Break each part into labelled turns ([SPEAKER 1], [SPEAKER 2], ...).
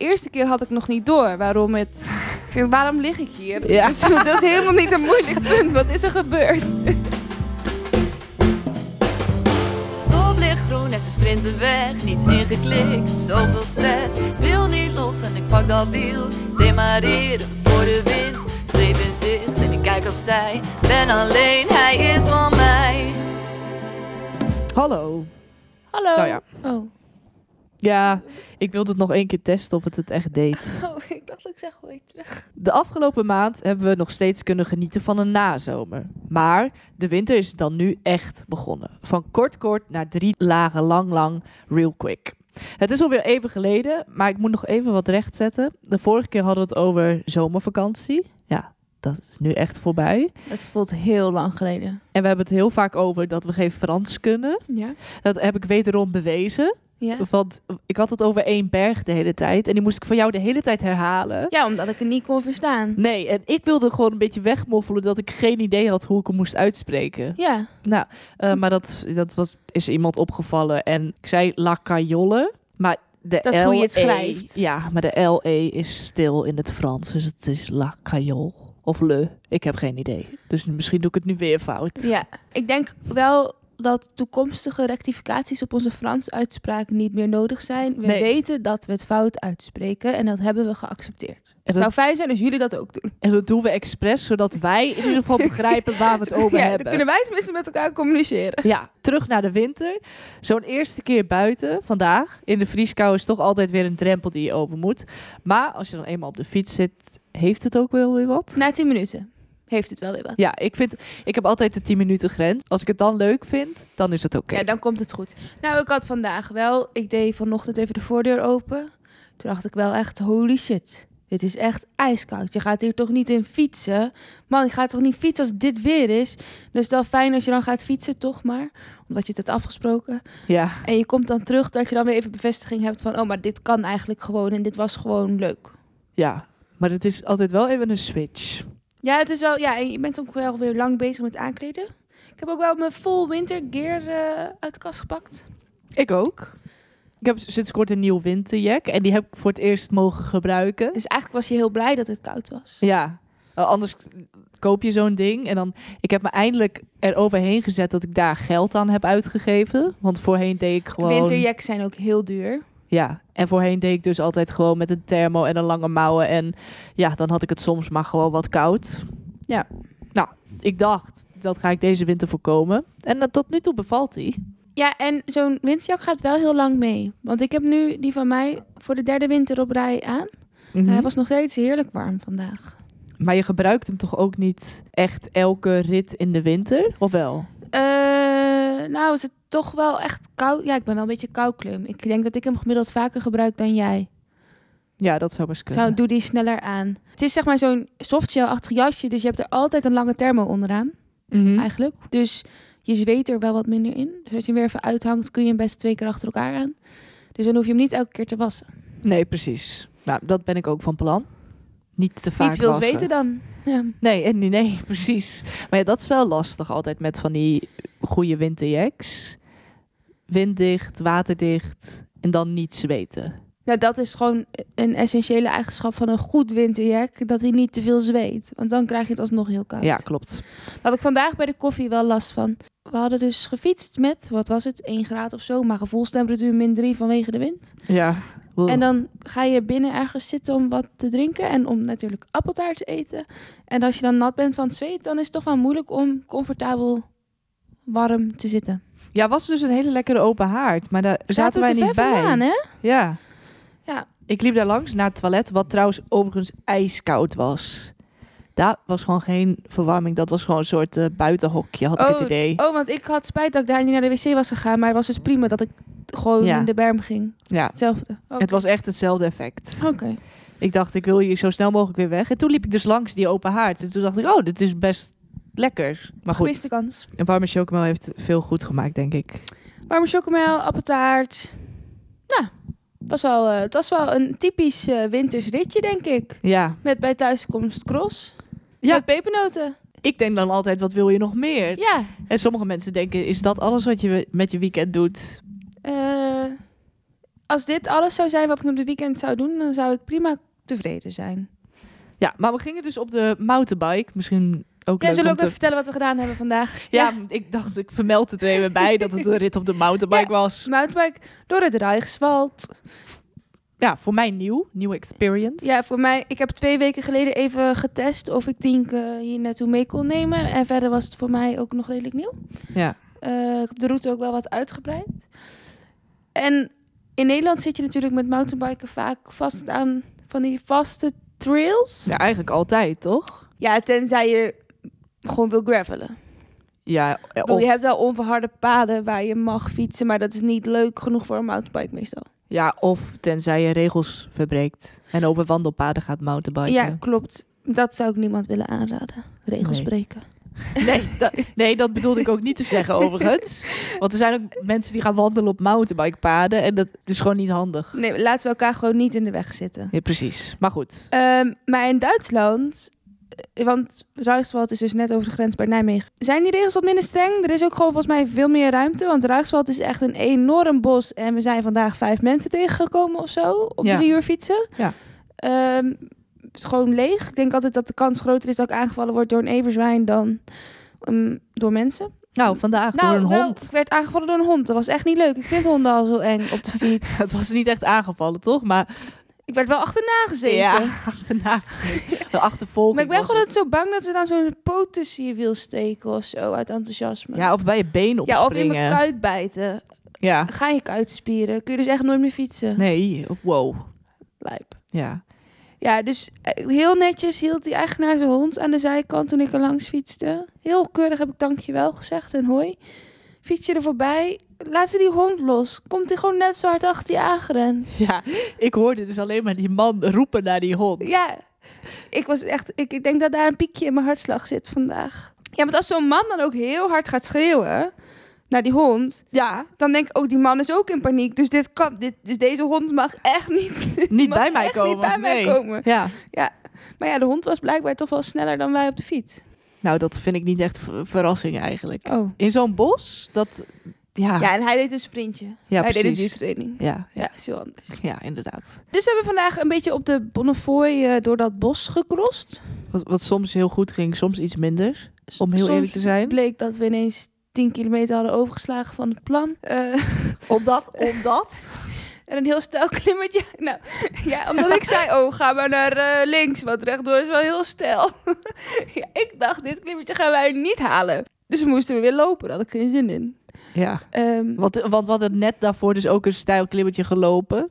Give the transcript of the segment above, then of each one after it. [SPEAKER 1] eerste keer had ik nog niet door waarom het... Ik denk, waarom lig ik hier?
[SPEAKER 2] Ja.
[SPEAKER 1] Dus dat is helemaal niet een moeilijk punt. Wat is er gebeurd?
[SPEAKER 3] Stoplicht groen en ze sprinten weg, niet ingeklikt, zoveel stress. Wil niet los en ik pak dat wiel, demareren voor de winst. Streep in zicht en ik kijk opzij, ben alleen, hij is van mij.
[SPEAKER 2] Hallo.
[SPEAKER 1] Hallo.
[SPEAKER 2] Nou ja.
[SPEAKER 4] Oh.
[SPEAKER 2] Ja, ik wilde het nog één keer testen of het het echt deed.
[SPEAKER 4] oh, ik dacht dat ik zeg hoi terug.
[SPEAKER 2] De afgelopen maand hebben we nog steeds kunnen genieten van een nazomer. Maar de winter is dan nu echt begonnen. Van kort kort naar drie lagen lang lang real quick. Het is alweer even geleden, maar ik moet nog even wat rechtzetten. De vorige keer hadden we het over zomervakantie. Ja, dat is nu echt voorbij.
[SPEAKER 4] Het voelt heel lang geleden.
[SPEAKER 2] En we hebben het heel vaak over dat we geen Frans kunnen.
[SPEAKER 4] Ja?
[SPEAKER 2] Dat heb ik wederom bewezen.
[SPEAKER 4] Ja.
[SPEAKER 2] Want ik had het over één berg de hele tijd. En die moest ik van jou de hele tijd herhalen.
[SPEAKER 4] Ja, omdat ik het niet kon verstaan.
[SPEAKER 2] Nee, en ik wilde gewoon een beetje wegmoffelen dat ik geen idee had hoe ik hem moest uitspreken.
[SPEAKER 4] Ja.
[SPEAKER 2] Nou, eh, maar dat, dat was, is iemand opgevallen en ik zei La Cajolle, maar de
[SPEAKER 4] Dat is hoe je het
[SPEAKER 2] LE
[SPEAKER 4] schrijft.
[SPEAKER 2] Ja, maar de LE is stil in het Frans, dus het is La Cajolle of Le. Ik heb geen idee. Dus misschien doe ik het nu weer fout.
[SPEAKER 4] Ja, ik denk wel dat toekomstige rectificaties op onze Frans-uitspraak niet meer nodig zijn. We
[SPEAKER 2] Nee.
[SPEAKER 4] weten dat we het fout uitspreken en dat hebben we geaccepteerd.
[SPEAKER 2] En
[SPEAKER 4] Het
[SPEAKER 2] dat,
[SPEAKER 4] zou fijn zijn als jullie dat ook doen.
[SPEAKER 2] en dat doen we expres, zodat wij in ieder geval begrijpen waar we het over
[SPEAKER 4] ja,
[SPEAKER 2] hebben.
[SPEAKER 4] Dan kunnen wij tenminste met elkaar communiceren.
[SPEAKER 2] Ja, terug naar de winter. Zo'n eerste keer buiten vandaag in de vrieskou is toch altijd weer een drempel die je over moet. Maar als je dan eenmaal op de fiets zit, heeft het ook wel weer wat.
[SPEAKER 4] Na 10 minuten heeft het wel weer wat.
[SPEAKER 2] Ja, ik, vind, ik heb altijd de 10 minuten grens. Als ik het dan leuk vind, dan is het oké.
[SPEAKER 4] Ja, dan komt het goed. Nou, ik had vandaag wel. Ik deed vanochtend even de voordeur open. Toen dacht ik wel echt, holy shit. Dit is echt ijskoud. Je gaat hier toch niet in fietsen? Man, ik ga toch niet fietsen als dit weer is? Dus wel fijn als je dan gaat fietsen, toch maar. Omdat je het had afgesproken.
[SPEAKER 2] Ja,
[SPEAKER 4] En je komt dan terug dat je dan weer even bevestiging hebt van... Oh, maar dit kan eigenlijk gewoon en dit was gewoon leuk.
[SPEAKER 2] ja. Maar het is altijd wel even een switch.
[SPEAKER 4] Ja, het is wel... Ja, en je bent ook wel weer lang bezig met aankleden. Ik heb ook wel mijn full winter gear eh, uit de kast gepakt.
[SPEAKER 2] Ik ook. Ik heb sinds kort een nieuw winterjack en die heb ik voor het eerst mogen gebruiken.
[SPEAKER 4] Dus eigenlijk was je heel blij dat het koud was.
[SPEAKER 2] Ja, eh, anders koop je zo'n ding. En dan, ik heb me eindelijk eroverheen gezet dat ik daar geld aan heb uitgegeven. Want voorheen deed ik gewoon...
[SPEAKER 4] Winterjacks zijn ook heel duur.
[SPEAKER 2] Ja, en voorheen deed ik dus altijd gewoon met een thermo en een lange mouwen. En ja, dan had ik het soms maar gewoon wat koud.
[SPEAKER 4] Ja.
[SPEAKER 2] Nou, ik dacht, dat ga ik deze winter voorkomen. En eh, tot nu toe bevalt die.
[SPEAKER 4] Ja, en zo'n winterjak gaat wel heel lang mee. Want ik heb nu die van mij voor de derde winter op rij aan. En hij was nog steeds heerlijk warm vandaag.
[SPEAKER 2] Eh, Maar je gebruikt hem toch ook niet echt elke rit in de winter? Of wel?
[SPEAKER 4] Eh, nou, is het toch wel echt koud? Ja, ik ben wel een beetje koukleum. Ik denk dat ik hem gemiddeld vaker gebruik dan jij.
[SPEAKER 2] Ja, dat zou best kunnen.
[SPEAKER 4] Zou, doe die sneller aan. Het is zeg maar zo'n softshell-achtig jasje. Dus je hebt er altijd een lange thermo onderaan,
[SPEAKER 2] Mhm.
[SPEAKER 4] eigenlijk. Dus je zweet er wel wat minder in. Dus als je hem weer even uithangt, kun je hem best twee keer achter elkaar aan. Dus dan hoef je hem niet elke keer te wassen.
[SPEAKER 2] Nee, precies. Nou, dat ben ik ook van plan. Niet te vaak
[SPEAKER 4] Niet veel
[SPEAKER 2] wassen.
[SPEAKER 4] zweten dan. Ja.
[SPEAKER 2] Nee, en, nee, precies. Maar ja, dat is wel lastig altijd met van die goede winterjacks. Winddicht, waterdicht en dan niet zweten.
[SPEAKER 4] Nou, dat is gewoon een essentiële eigenschap van een goed winterjack. Dat hij niet te veel zweet. Want dan krijg je het alsnog heel koud.
[SPEAKER 2] Ja, klopt.
[SPEAKER 4] Daar had ik vandaag bij de koffie wel last van. We hadden dus gefietst met, wat was het, 1 graad of zo. Maar gevoelstemperatuur min 3 vanwege de wind.
[SPEAKER 2] Ja. Wow.
[SPEAKER 4] En dan ga je binnen ergens zitten om wat te drinken. En om natuurlijk appeltaart te eten. En als je dan nat bent van het zweet, dan is het toch wel moeilijk om comfortabel warm te zitten.
[SPEAKER 2] Ja, was dus een hele lekkere open haard, maar daar zaten,
[SPEAKER 4] we
[SPEAKER 2] wij
[SPEAKER 4] te
[SPEAKER 2] niet
[SPEAKER 4] ver
[SPEAKER 2] bij.
[SPEAKER 4] vandaan, hè?
[SPEAKER 2] Ja.
[SPEAKER 4] Ja.
[SPEAKER 2] Ik liep daar langs naar het toilet, wat trouwens overigens ijskoud was. Daar was gewoon geen verwarming. Dat was gewoon een soort eh, buitenhokje, had ik het idee.
[SPEAKER 4] Oh, want ik had spijt dat ik daar niet naar de wc was gegaan. Maar het was dus prima dat ik gewoon
[SPEAKER 2] Ja.
[SPEAKER 4] in de berm ging.
[SPEAKER 2] Ja.
[SPEAKER 4] Hetzelfde. Oké.
[SPEAKER 2] Het was echt hetzelfde effect.
[SPEAKER 4] Oké.
[SPEAKER 2] Ik dacht, ik wil hier zo snel mogelijk weer weg. En toen liep ik dus langs die open haard. En toen dacht ik, oh, dit is best lekker. Maar goed,
[SPEAKER 4] Gemiste kans.
[SPEAKER 2] een warme chocomel heeft veel goed gemaakt, denk ik.
[SPEAKER 4] Warme chocomel, appeltaart. Nou, was wel, eh, het was wel een typisch eh, winters ritje, denk ik.
[SPEAKER 2] Ja,
[SPEAKER 4] Met bij thuiskomst cross.
[SPEAKER 2] Ja.
[SPEAKER 4] Ja. Met pepernoten.
[SPEAKER 2] ik denk dan altijd, wat wil je nog meer?
[SPEAKER 4] Ja.
[SPEAKER 2] En sommige mensen denken, is dat alles wat je met je weekend doet?
[SPEAKER 4] eh, als dit alles zou zijn wat ik op de weekend zou doen, dan zou ik prima tevreden zijn.
[SPEAKER 2] Ja, maar we gingen dus op de mountainbike. Misschien ook
[SPEAKER 4] Jij
[SPEAKER 2] leuk
[SPEAKER 4] zullen we
[SPEAKER 2] om
[SPEAKER 4] ook even
[SPEAKER 2] te...
[SPEAKER 4] vertellen wat we gedaan hebben vandaag?
[SPEAKER 2] Ja, ik dacht, ik vermeld het er even bij dat het een rit op de mountainbike was.
[SPEAKER 4] Mountainbike door het Rijkswald.
[SPEAKER 2] Ja, voor mij nieuw. Nieuwe experience.
[SPEAKER 4] Ja, voor mij, ik heb twee weken geleden even getest of ik Tienke hier naartoe mee kon nemen. En verder was het voor mij ook nog redelijk nieuw.
[SPEAKER 2] ja.
[SPEAKER 4] Eh, ik heb de route ook wel wat uitgebreid. En in Nederland zit je natuurlijk met mountainbiken vaak vast aan van die vaste trails.
[SPEAKER 2] Ja, eigenlijk altijd, toch?
[SPEAKER 4] Ja, tenzij je gewoon wil gravelen.
[SPEAKER 2] Ja,
[SPEAKER 4] Ik bedoel,
[SPEAKER 2] of-
[SPEAKER 4] je hebt wel onverharde paden waar je mag fietsen, maar dat is niet leuk genoeg voor een mountainbike meestal.
[SPEAKER 2] ja, of tenzij je regels verbreekt en over wandelpaden gaat mountainbiken.
[SPEAKER 4] Ja, klopt. Dat zou ik niemand willen aanraden. Regels
[SPEAKER 2] Nee.
[SPEAKER 4] breken.
[SPEAKER 2] Nee, dat, nee, dat bedoelde ik ook niet te zeggen overigens. Want er zijn ook mensen die gaan wandelen op mountainbikepaden en dat is gewoon niet handig.
[SPEAKER 4] Nee, laten we elkaar gewoon niet in de weg zitten.
[SPEAKER 2] Ja, precies. Maar goed.
[SPEAKER 4] Ehm, maar in Duitsland, eh, want Ruigswald is dus net over de grens bij Nijmegen, zijn die regels wat minder streng. Er is ook gewoon volgens mij veel meer ruimte, want Ruigswald is echt een enorm bos. En we zijn vandaag vijf mensen tegengekomen of zo, op
[SPEAKER 2] Ja.
[SPEAKER 4] drie uur fietsen.
[SPEAKER 2] Ja.
[SPEAKER 4] Ehm, het is gewoon leeg. Ik denk altijd dat de kans groter is dat ik aangevallen word door een everzwijn dan ehm, door mensen.
[SPEAKER 2] Nou, vandaag
[SPEAKER 4] nou,
[SPEAKER 2] door een
[SPEAKER 4] wel,
[SPEAKER 2] hond.
[SPEAKER 4] ik werd aangevallen door een hond. Dat was echt niet leuk. Ik vind honden al zo eng op de fiets.
[SPEAKER 2] Het was niet echt aangevallen, toch? Maar
[SPEAKER 4] Ik werd wel achterna gezeten.
[SPEAKER 2] ja, achterna gezeten. De achtervolging.
[SPEAKER 4] Maar ik ben
[SPEAKER 2] was
[SPEAKER 4] gewoon
[SPEAKER 2] het.
[SPEAKER 4] altijd zo bang dat ze dan zo'n poot tussen je wil steken of zo uit enthousiasme.
[SPEAKER 2] Ja, of bij je been opspringen.
[SPEAKER 4] Ja, of in mijn kuit bijten.
[SPEAKER 2] Ja.
[SPEAKER 4] Ga je kuitspieren. Kun je dus echt nooit meer fietsen.
[SPEAKER 2] Nee, wow.
[SPEAKER 4] Lijp.
[SPEAKER 2] Ja.
[SPEAKER 4] Ja, dus eh, heel netjes hield die eigenaar zijn hond aan de zijkant toen ik er langs fietste. Heel keurig heb ik dankjewel gezegd en hoi. Fiets je er voorbij, laat ze die hond los. Komt hij gewoon net zo hard achter je aangerend.
[SPEAKER 2] ja, ik hoorde dus alleen maar die man roepen naar die hond.
[SPEAKER 4] Ja, ik was echt. Ik, ik denk dat daar een piekje in mijn hartslag zit vandaag. Ja, want als zo'n man dan ook heel hard gaat schreeuwen naar die hond,
[SPEAKER 2] Ja,
[SPEAKER 4] dan denk ik ook die man is ook in paniek. Dus dit kan, dit, dus deze hond mag echt niet,
[SPEAKER 2] niet
[SPEAKER 4] mag
[SPEAKER 2] bij mij
[SPEAKER 4] echt
[SPEAKER 2] komen.
[SPEAKER 4] Niet bij
[SPEAKER 2] nee.
[SPEAKER 4] mij komen.
[SPEAKER 2] Ja.
[SPEAKER 4] Maar ja, de hond was blijkbaar toch wel sneller dan wij op de fiets.
[SPEAKER 2] Nou, dat vind ik niet echt ver- verrassing eigenlijk.
[SPEAKER 4] Oh.
[SPEAKER 2] In zo'n bos, dat... Ja, ja,
[SPEAKER 4] Ja, en hij deed een sprintje. hij deed een
[SPEAKER 2] precies.
[SPEAKER 4] duurtraining.
[SPEAKER 2] Ja, ja,
[SPEAKER 4] Ja, is heel anders.
[SPEAKER 2] ja, inderdaad.
[SPEAKER 4] Dus we hebben vandaag een beetje op de Bonnefoy eh, door dat bos gecrossed.
[SPEAKER 2] Wat, wat soms heel goed ging, soms iets minder. Om heel
[SPEAKER 4] Soms
[SPEAKER 2] eerlijk te zijn.
[SPEAKER 4] bleek dat we ineens 10 kilometer hadden overgeslagen van het plan. Eh,
[SPEAKER 2] Omdat, omdat...
[SPEAKER 4] En een heel stijl klimmetje. Nou, ja, omdat ik zei, oh, ga maar naar eh, links, want rechtdoor is wel heel stijl. ja, ik dacht, dit klimmetje gaan wij niet halen. Dus we moesten weer lopen, daar had ik geen zin in.
[SPEAKER 2] Ja,
[SPEAKER 4] Ehm,
[SPEAKER 2] want, want we hadden net daarvoor dus ook een steil klimmetje gelopen.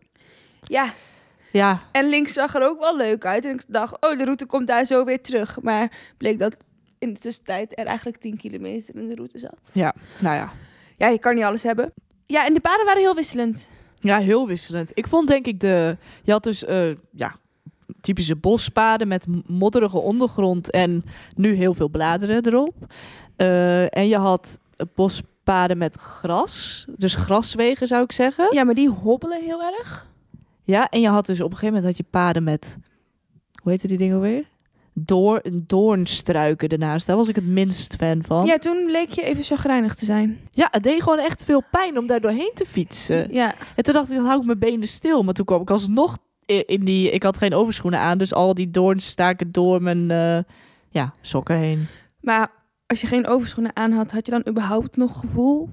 [SPEAKER 4] ja,
[SPEAKER 2] Ja,
[SPEAKER 4] en links zag er ook wel leuk uit. En ik dacht, oh, de route komt daar zo weer terug. Maar bleek dat in de tussentijd er eigenlijk 10 kilometer in de route zat.
[SPEAKER 2] nou ja.
[SPEAKER 4] Ja, je kan niet alles hebben. Ja, en de paden waren heel wisselend.
[SPEAKER 2] Ja, heel wisselend. Ik vond denk ik de... Je had dus, eh, ja, typische bospaden met m- modderige ondergrond en nu heel veel bladeren erop. Eh, en je had eh, bospaden met gras, dus graswegen zou ik zeggen.
[SPEAKER 4] Ja, maar die hobbelen heel erg.
[SPEAKER 2] Ja, en je had dus op een gegeven moment had je paden met... Hoe heette die dingen weer? Door, doornstruiken ernaast. Daar was ik het minst fan van. Ja.
[SPEAKER 4] Ja, toen bleek je even chagrijnig te zijn.
[SPEAKER 2] het deed gewoon echt veel pijn om daar doorheen te fietsen.
[SPEAKER 4] Ja.
[SPEAKER 2] En toen dacht ik, dan hou ik mijn benen stil. Maar toen kwam ik alsnog i- in die... Ik had geen overschoenen aan, dus al die doorns staken door mijn eh, ja, sokken heen.
[SPEAKER 4] Maar als je geen overschoenen aan had, had je dan überhaupt nog gevoel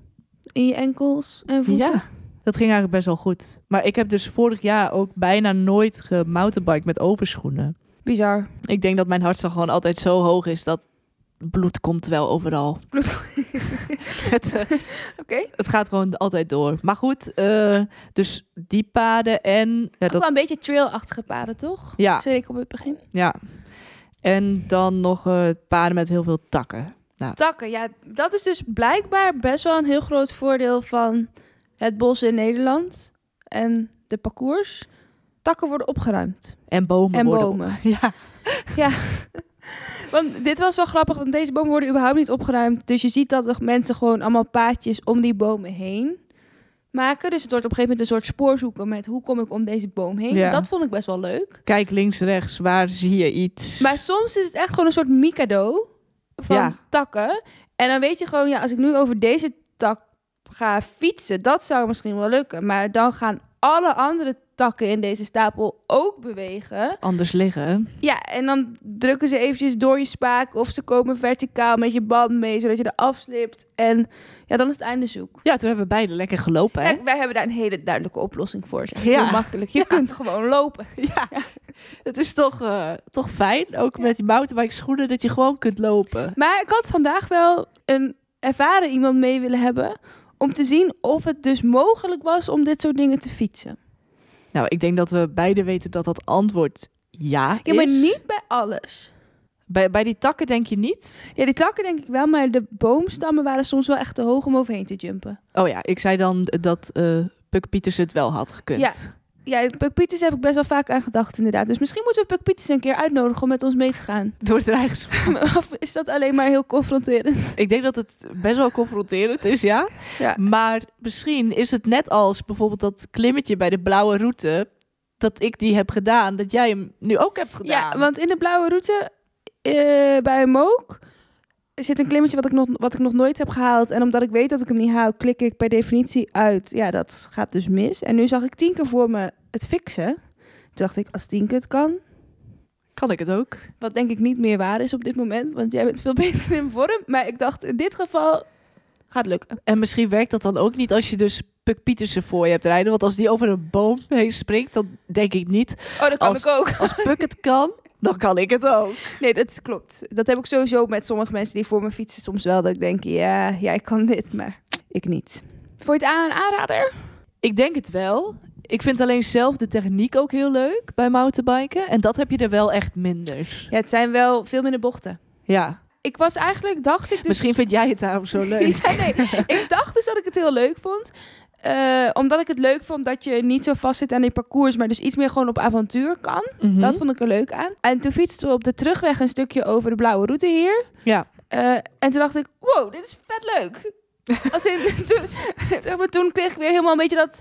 [SPEAKER 4] in je enkels en voeten?
[SPEAKER 2] Ja, dat ging eigenlijk best wel goed. Maar ik heb dus vorig jaar ook bijna nooit gemountainbiked met overschoenen.
[SPEAKER 4] Bizar.
[SPEAKER 2] Ik denk dat mijn hartslag gewoon altijd zo hoog is dat bloed komt wel overal.
[SPEAKER 4] Bloed-
[SPEAKER 2] het, eh,
[SPEAKER 4] Oké.
[SPEAKER 2] het gaat gewoon altijd door. Maar goed, eh, dus die paden en... Ja,
[SPEAKER 4] Ook
[SPEAKER 2] dat,
[SPEAKER 4] wel een beetje trailachtige paden, toch?
[SPEAKER 2] ja,
[SPEAKER 4] Zei ik op het begin.
[SPEAKER 2] ja. En dan nog eh, paden met heel veel takken.
[SPEAKER 4] Takken, ja, dat is dus blijkbaar best wel een heel groot voordeel van het bos in Nederland en de parcours. Takken worden opgeruimd.
[SPEAKER 2] En bomen.
[SPEAKER 4] En
[SPEAKER 2] worden op-
[SPEAKER 4] bomen.
[SPEAKER 2] Ja,
[SPEAKER 4] Want dit was wel grappig, want deze bomen worden überhaupt niet opgeruimd. Dus je ziet dat er mensen gewoon allemaal paadjes om die bomen heen maken. Dus het wordt op een gegeven moment een soort spoor zoeken met hoe kom ik om deze boom heen.
[SPEAKER 2] Ja.
[SPEAKER 4] Dat vond ik best wel leuk.
[SPEAKER 2] kijk links, rechts, waar zie je iets?
[SPEAKER 4] Maar soms is het echt gewoon een soort mikado van
[SPEAKER 2] Ja.
[SPEAKER 4] takken. En dan weet je gewoon, ja, als ik nu over deze tak ga fietsen, dat zou misschien wel lukken. Maar dan gaan alle andere takken in deze stapel ook bewegen.
[SPEAKER 2] Anders liggen.
[SPEAKER 4] Ja, en dan drukken ze eventjes door je spaak of ze komen verticaal met je band mee, zodat je er afslipt. En ja, dan is het einde zoek.
[SPEAKER 2] Ja, toen hebben we beide lekker gelopen, hè?
[SPEAKER 4] Kijk, wij hebben daar een hele duidelijke oplossing voor. Het is echt
[SPEAKER 2] Ja.
[SPEAKER 4] heel makkelijk. Je kunt gewoon lopen.
[SPEAKER 2] Ja, het is toch, eh, toch fijn, ook met die mountainbike schoenen, dat je gewoon kunt lopen.
[SPEAKER 4] Maar ik had vandaag wel een ervaren iemand mee willen hebben om te zien of het dus mogelijk was om dit soort dingen te fietsen.
[SPEAKER 2] Nou, ik denk dat we beide weten dat dat antwoord ja is.
[SPEAKER 4] Ja, maar niet bij alles.
[SPEAKER 2] Bij, bij die takken denk je niet?
[SPEAKER 4] Ja, die takken denk ik wel, maar de boomstammen waren soms wel echt te hoog om overheen te jumpen.
[SPEAKER 2] Oh ja, ik zei dan dat eh Puk Pieters het wel had gekund.
[SPEAKER 4] Ja. Ja, Puck Pieters heb ik best wel vaak aan gedacht inderdaad. Dus misschien moeten we Puck Pieters een keer uitnodigen om met ons mee te gaan.
[SPEAKER 2] Door de eigen schoen.
[SPEAKER 4] of is dat alleen maar heel confronterend?
[SPEAKER 2] Ik denk dat het best wel confronterend is, ja.
[SPEAKER 4] Ja.
[SPEAKER 2] Maar misschien is het net als bijvoorbeeld dat klimmetje bij de blauwe route... dat ik die heb gedaan, dat jij hem nu ook hebt gedaan.
[SPEAKER 4] Ja, want in de blauwe route eh, bij Mook zit een klimmetje wat ik, nog, wat ik nog nooit heb gehaald. En omdat ik weet dat ik hem niet haal, klik ik per definitie uit. Ja, dat gaat dus mis. En nu zag ik tien keer voor me het fixen. Toen dacht ik, als tien keer het kan,
[SPEAKER 2] Kan ik het ook?
[SPEAKER 4] wat denk ik niet meer waar is op dit moment, want jij bent veel beter in vorm. Maar ik dacht, in dit geval gaat lukken.
[SPEAKER 2] En misschien werkt dat dan ook niet als je dus Puk Pietersen voor je hebt rijden. Want als die over een boom heen springt, dan denk ik niet.
[SPEAKER 4] Oh, dat kan
[SPEAKER 2] Als-
[SPEAKER 4] ik ook.
[SPEAKER 2] Als Puk het kan, dan kan ik het ook.
[SPEAKER 4] Nee, dat is- klopt. Dat heb ik sowieso met sommige mensen die voor me fietsen soms wel. Dat ik denk, ja, jij kan dit, maar ik niet. Voor het aan- aanrader?
[SPEAKER 2] Ik denk het wel. Ik vind alleen zelf de techniek ook heel leuk bij mountainbiken. En dat heb je er wel echt minder.
[SPEAKER 4] Ja, het zijn wel veel minder bochten.
[SPEAKER 2] Ja,
[SPEAKER 4] Ik was eigenlijk, dacht ik dus...
[SPEAKER 2] misschien vind jij het daarom zo leuk.
[SPEAKER 4] Ja, nee, ik dacht dus dat ik het heel leuk vond. Eh, omdat ik het leuk vond dat je niet zo vast zit aan die parcours, maar dus iets meer gewoon op avontuur kan.
[SPEAKER 2] Mhm.
[SPEAKER 4] Dat vond ik er leuk aan. En toen fietsten we op de terugweg een stukje over de blauwe route hier.
[SPEAKER 2] Ja.
[SPEAKER 4] Eh, en toen dacht ik, wow, dit is vet leuk. Als in, toen, zeg maar, toen kreeg ik weer helemaal een beetje dat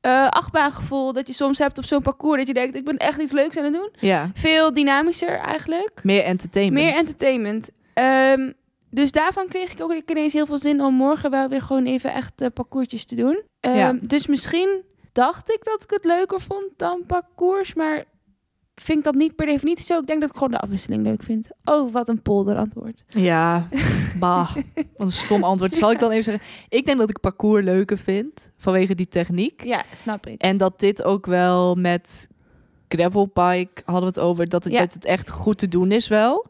[SPEAKER 4] eh achtbaangevoel dat je soms hebt op zo'n parcours. Dat je denkt, ik ben echt iets leuks aan het doen.
[SPEAKER 2] Ja,
[SPEAKER 4] Veel dynamischer eigenlijk.
[SPEAKER 2] meer entertainment.
[SPEAKER 4] Meer entertainment. Ehm, dus daarvan kreeg ik ook ineens heel veel zin om morgen wel weer gewoon even echt eh, parcoursjes te doen. Ehm,
[SPEAKER 2] Ja.
[SPEAKER 4] Dus misschien dacht ik dat ik het leuker vond dan parcours, maar vind ik dat niet per definitie zo. Ik denk dat ik gewoon de afwisseling leuk vind. Oh, wat een polder antwoord.
[SPEAKER 2] Ja, bah. Wat een stom antwoord. Zal ik dan even zeggen? Ik denk dat ik parcours leuker vind vanwege die techniek.
[SPEAKER 4] Ja, snap ik.
[SPEAKER 2] En dat dit ook wel met gravelbike hadden we het over. Dat het,
[SPEAKER 4] Ja.
[SPEAKER 2] dat het echt goed te doen is wel.